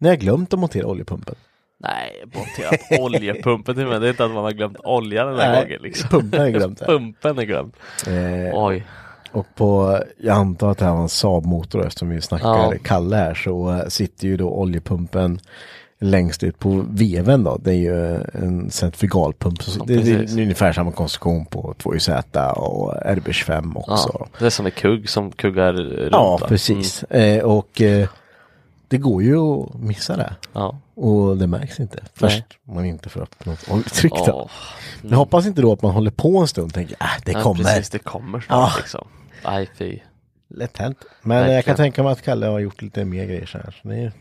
S1: Nu har jag glömt att montera oljepumpen.
S2: Nej, monterat oljepumpen till mig. Det är inte att man har glömt olja den här
S1: Nej, <laughs>
S2: gången liksom.
S1: pumpen är glömt
S2: <laughs>
S1: där.
S2: Pumpen är glömd.
S1: Eh,
S2: Oj.
S1: Och på, jag antar att det här var en Saab-motor eftersom vi snackar
S2: Ja.
S1: Kalle här så eh, sitter ju då oljepumpen längst ut på veven då. Det är ju eh, en centrifugalpump. Så
S2: Ja,
S1: det, det
S2: precis.
S1: är ungefär samma konstruktion på 2YZ och RB25 också.
S2: Ja, det är som en kugg som kuggar runt.
S1: Ja,
S2: va?
S1: precis. Eh, och eh, det går ju att missa det.
S2: Ja.
S1: Och det märks inte. Först om man inte får upp något oljetryck då.
S2: Åh.
S1: Jag hoppas inte då att man håller på en stund och tänker att äh, det
S2: Nej,
S1: kommer.
S2: Precis, det kommer snart liksom. Nej, fy.
S1: Lätt hänt. Men eh, jag kan
S2: Verkligen.
S1: tänka mig att Kalle har gjort lite mer grejer så här. Så det är,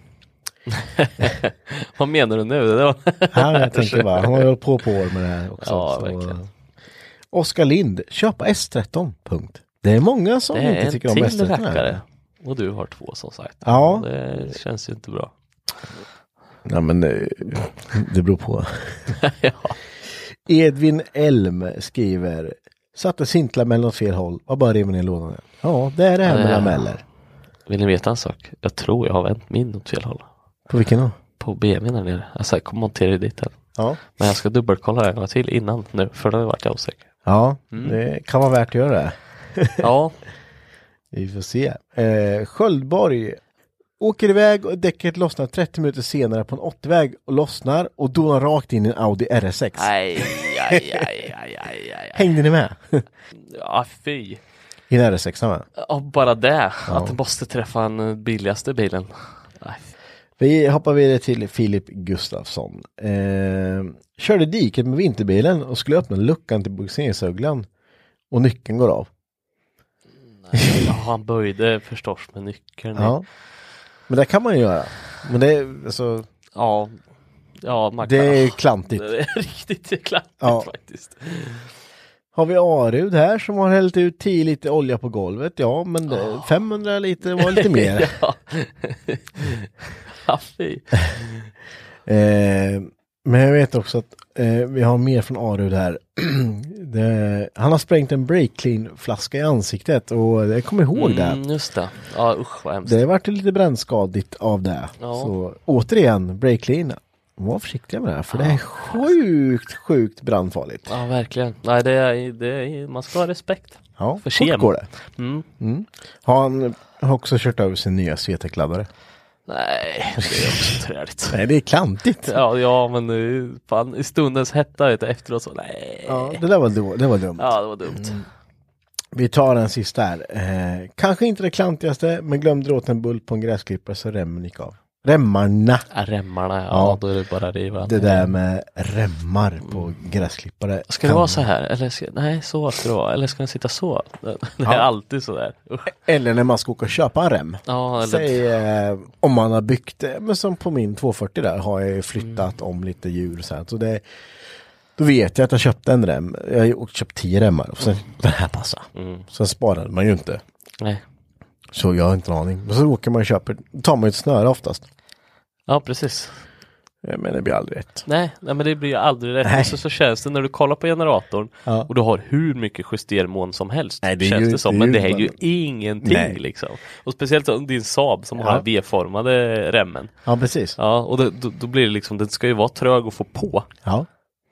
S2: Vad menar du nu? Det var...
S1: han,
S2: <laughs>
S1: jag tänker bara, han har ju hållit på på år med det här också.
S2: Ja,
S1: så,
S2: verkligen.
S1: eh, Oskar Lind, köpa S13. Punkt. Det är många som
S2: Det är
S1: inte
S2: en
S1: tycker om S13.
S2: till
S1: här.
S2: rackare. Och du har två som sagt.
S1: Ja.
S2: Det känns ju inte bra.
S1: Ja, men eh, det beror <laughs> på. Edvin Elm skriver Satte sintlamellen åt fel håll, var bara rimmen i lådan. igen." Ja, det är det här med
S2: Ja.
S1: lameller.
S2: Vill ni veta en sak? Jag tror jag har vänt min åt fel håll.
S1: På vilken då?
S2: På BMWn där nere. Alltså jag monterar ju dit den.
S1: Ja,
S2: Men jag ska dubbelkolla det en gång till innan nu. För då vart jag osäker.
S1: ja det kan vara värt att göra det.
S2: Ja,
S1: Vi får se. Eh, Sköldborg åker iväg och däcket lossnar 30 minuter senare på en 80-väg och lossnar och donar rakt in i en Audi RS6.
S2: aj, aj, aj, aj, aj, aj. aj.
S1: Hängde ni med? <laughs>
S2: Ja, fy.
S1: I en RS6 va?
S2: Och bara det. Att du måste träffa den billigaste bilen. Nej, fy.
S1: Vi hoppar vidare till Filip Gustafsson. Eh, körde diket med vinterbilen och skulle öppna luckan till bogseringsöglan och nyckeln går av.
S2: Ja, han böjde förstås med nyckeln.
S1: Ja. Men det kan man ju göra. Men det är, alltså,
S2: Ja, ja man
S1: det
S2: kan-
S1: är klantigt.
S2: Det är riktigt klantigt
S1: Ja.
S2: faktiskt.
S1: Har vi Arud här som har hällt ut 10 liter olja på golvet. Ja, men det, 500 liter var
S2: <laughs>
S1: lite mer.
S2: Ja. ja, fy.
S1: Eh, men jag vet också att eh, vi har mer från Arud här. <clears throat> det, han har sprängt en break clean flaska i ansiktet och jag kommer ihåg det.
S2: Mm, just det. Ja, usch vad hemskt.
S1: Det vart ju lite brännskadigt av det.
S2: Ja.
S1: Så återigen, breaklin. Var försiktiga med det här för det är sjukt, sjukt brandfarligt.
S2: Ja, verkligen. Nej, det är, det är, man ska ha respekt.
S1: Ja,
S2: För
S1: fort
S2: kem.
S1: går det.
S2: Mm.
S1: Mm. Har han har också kört över sin nya CTEC-laddare?
S2: Nej, det
S1: <laughs>
S2: är också träligt.
S1: Nej, det är klantigt. Ja,
S2: Ja, ja, men nu, fan, i stundens hetta vet du, efteråt så nej.
S1: det där var, då, det var dumt.
S2: Ja, det var dumt.
S1: Mm. Vi tar den sista här. Eh, kanske inte det klantigaste, men glömde åt en bult på en gräsklippare så remmen gick av. Remmarna!
S2: Ja, Äh, Remmarna, ja,
S1: Ja.
S2: Då är det bara att riva.
S1: Det där med remmar på gräsklippare.
S2: Mm. Ska det vara så här? Eller ska, nej, så ska det vara. Eller ska den sitta så? <laughs> Det det
S1: Ja.
S2: är alltid så där. Usch.
S1: Eller när man ska åka och köpa en rem.
S2: Ja, eller
S1: Säg eh, om man har byggt, eh, men som på min 240 där har jag ju
S2: Mm.
S1: flyttat om lite djur så här. Så det, då vet jag att jag köpte en rem. Jag har ju åkt- köpt tio remmar och
S2: Mm.
S1: sen den här passar. Sen sparade man ju inte.
S2: nej.
S1: Så jag har inte en aning. Men så åker man och köper, då tar man ju ett snöre oftast.
S2: Ja, precis.
S1: Eh, Men det blir aldrig rätt.
S2: Nej, nej men det blir ju aldrig rätt. Och så, så känns det när du kollar på generatorn
S1: Ja.
S2: och du har hur mycket justermån som helst.
S1: Nej, det är
S2: känns
S1: ju-
S2: det som,
S1: det är
S2: men
S1: ju
S2: det är ju
S1: bara-
S2: ingenting
S1: Nej.
S2: liksom. Och speciellt om din Saab som har den V-formade remmen.
S1: Ja, precis. Ja.
S2: Ja, och det, då, då blir det liksom, den ska ju vara trög att få på.
S1: Ja,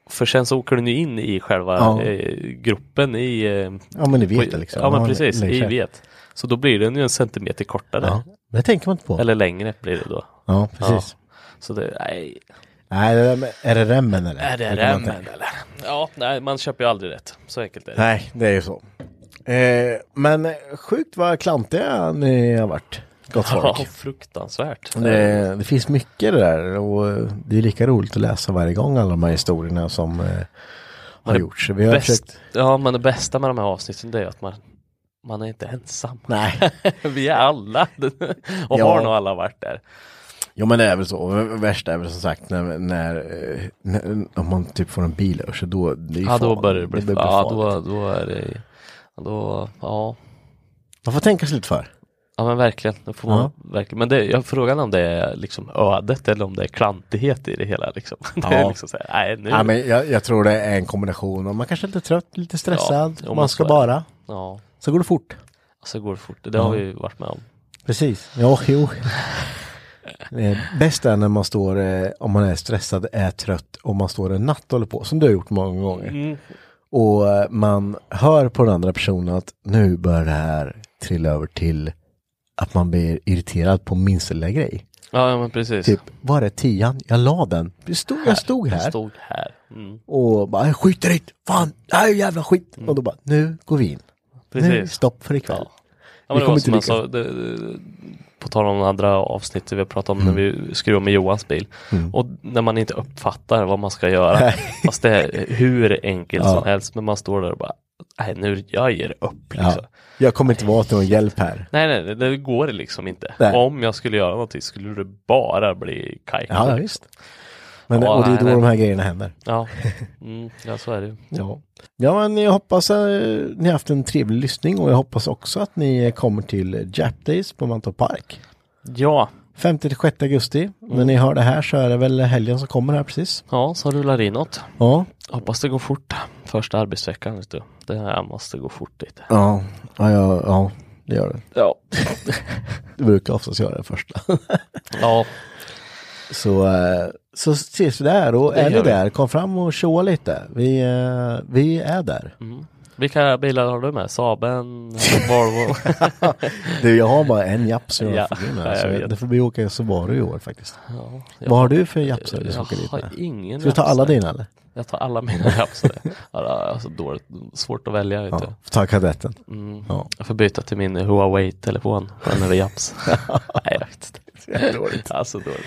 S2: För sen så åker den ju in i själva
S1: Ja.
S2: eh, gruppen i... Eh,
S1: men det vet
S2: på-
S1: jag liksom.
S2: Ja, men precis,
S1: lägger
S2: i
S1: sig.
S2: vet. Så då blir den ju en centimeter kortare.
S1: Ja, det tänker man inte på.
S2: Eller längre blir det då.
S1: Ja, precis.
S2: Så det, nej,
S1: Nej, det där med- är det remmen eller?
S2: är det
S1: Jag kommer inte-
S2: remmen eller? Ja, nej, man köper ju aldrig rätt. Så enkelt är det.
S1: Nej, det är ju så. Eh, men sjukt vad klantiga ni har varit, gott
S2: Ja,
S1: folk.
S2: fruktansvärt.
S1: Det, det finns mycket det där och eh, det är lika roligt att läsa varje gång alla de här historierna som eh, har
S2: det
S1: gjorts. Vi har
S2: Bäst,
S1: försökt...
S2: Ja, men det bästa med de här avsnitten det är att man, man är inte ensam. <laughs>
S1: Nej,
S2: Vi är alla, <laughs> och
S1: Ja.
S2: har nog alla varit där.
S1: jo men det är väl så. Och v- Värst är väl som sagt när, när, eh, när om man typ får en bil över sig då. Det är
S2: Ja, då
S1: farligt.
S2: börjar det bli,
S1: blir
S2: ja,
S1: farligt.
S2: då, då är det, ja, då, ja.
S1: Man får tänka sig lite för.
S2: Ja men verkligen, det får man verkligen. Men det, jag frågar om det är liksom ödet eller om det är klantighet i det hela liksom. <laughs> Det är
S1: Ja.
S2: liksom så här, nej nu.
S1: Ja, men jag, jag tror det är en kombination. Om Man kanske är lite trött, lite stressad.
S2: Ja, jo, men
S1: man ska
S2: så är det.
S1: bara.
S2: ja, alltså,
S1: Så går det fort.
S2: så går det fort. Det har vi ju varit med om.
S1: Precis. Ja, jo. Eh, Bäst är när man står, eh, om man är stressad, är trött, om man står en natt och håller på, som du har gjort många gånger.
S2: Mm.
S1: Och eh, man hör på den andra personen att nu börjar det här trilla över till att man blir irriterad på minsta lilla grej.
S2: Ja, men precis.
S1: Typ, var är tian? Jag la den. Jag stod här. Jag stod här.
S2: Stod här. Mm.
S1: Och bara, skit i det! Fan, det här är jävla skit! Och då bara, nu går vi in. Nu,
S2: Precis.
S1: stopp för ikväll.
S2: Ja,
S1: Vi
S2: men det
S1: kommer
S2: var
S1: inte
S2: som jag sa,
S1: lyckas.
S2: det, det- på tal om andra avsnitt vi har pratat om när
S1: Mm.
S2: vi skruvar med Johans bil. Och när man inte uppfattar vad man ska göra. Fast det är hur enkelt som helst. Men man står där och bara, nej nu, jag ger upp. Liksom.
S1: Jag kommer inte vara till någon hjälp här.
S2: Nej, nej, det, det går liksom inte.
S1: Nej.
S2: Om jag skulle göra någonting skulle det bara bli kajko.
S1: Ja, ja visst. Men,
S2: Ja,
S1: och det är
S2: nej,
S1: då
S2: nej.
S1: de här grejerna händer.
S2: Ja. Mm, ja, så är det ju.
S1: Ja. ja, men jag hoppas eh, ni har haft en trevlig lyssning och jag hoppas också att ni eh, kommer till Jap Days på Mantorp Park.
S2: Ja,
S1: 5-6 augusti. När ni hör det här så är det väl helgen som kommer här precis.
S2: ja så rullar inåt.
S1: Ja,
S2: Hoppas det går fort. Första arbetsveckan, vet du. Det här måste gå fort lite.
S1: ja, ja, ja, ja det gör det.
S2: Ja.
S1: Du brukar oftast göra det första.
S2: <laughs> Ja,
S1: <laughs> så, eh, så ses vi där och
S2: Det
S1: är ni
S2: gör vi.
S1: där, kom fram och tjoa lite. Vi, eh, vi är där.
S2: Vilka bilar har du med? Saaben,
S1: <laughs>
S2: Volvo?
S1: Du, jag har bara en Japs i den här
S2: Ja,
S1: familjen
S2: ja,
S1: här,
S2: jag
S1: så
S2: vet.
S1: det får bli åka i Subaru i år faktiskt.
S2: ja, jag,
S1: Vad har du för Japs du ska
S2: jag
S1: åka dit
S2: har
S1: med?
S2: ingen
S1: Ska du ta
S2: Japster.
S1: alla dina eller?
S2: Jag tar alla mina <laughs> Japster. Ja, det är alltså dåligt, svårt att välja vet
S1: Ja, ta kadetten.
S2: du. Mm.
S1: Ja. <laughs>
S2: Jag får byta till min Huawei-telefon. Den är Japs. Nej, jag vet inte.
S1: dåligt.
S2: Alltså dåligt.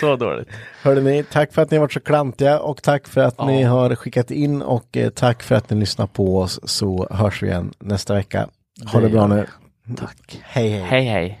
S2: Så dåligt.
S1: Hörde ni, tack för att ni har varit så klantiga och tack för att
S2: Ja.
S1: ni har skickat in och eh, tack för att ni lyssnar på oss så hörs vi igen nästa vecka. Ha det,
S2: Det
S1: bra
S2: gör
S1: nu.
S2: Tack.
S1: Hej hej.
S2: Hej hej.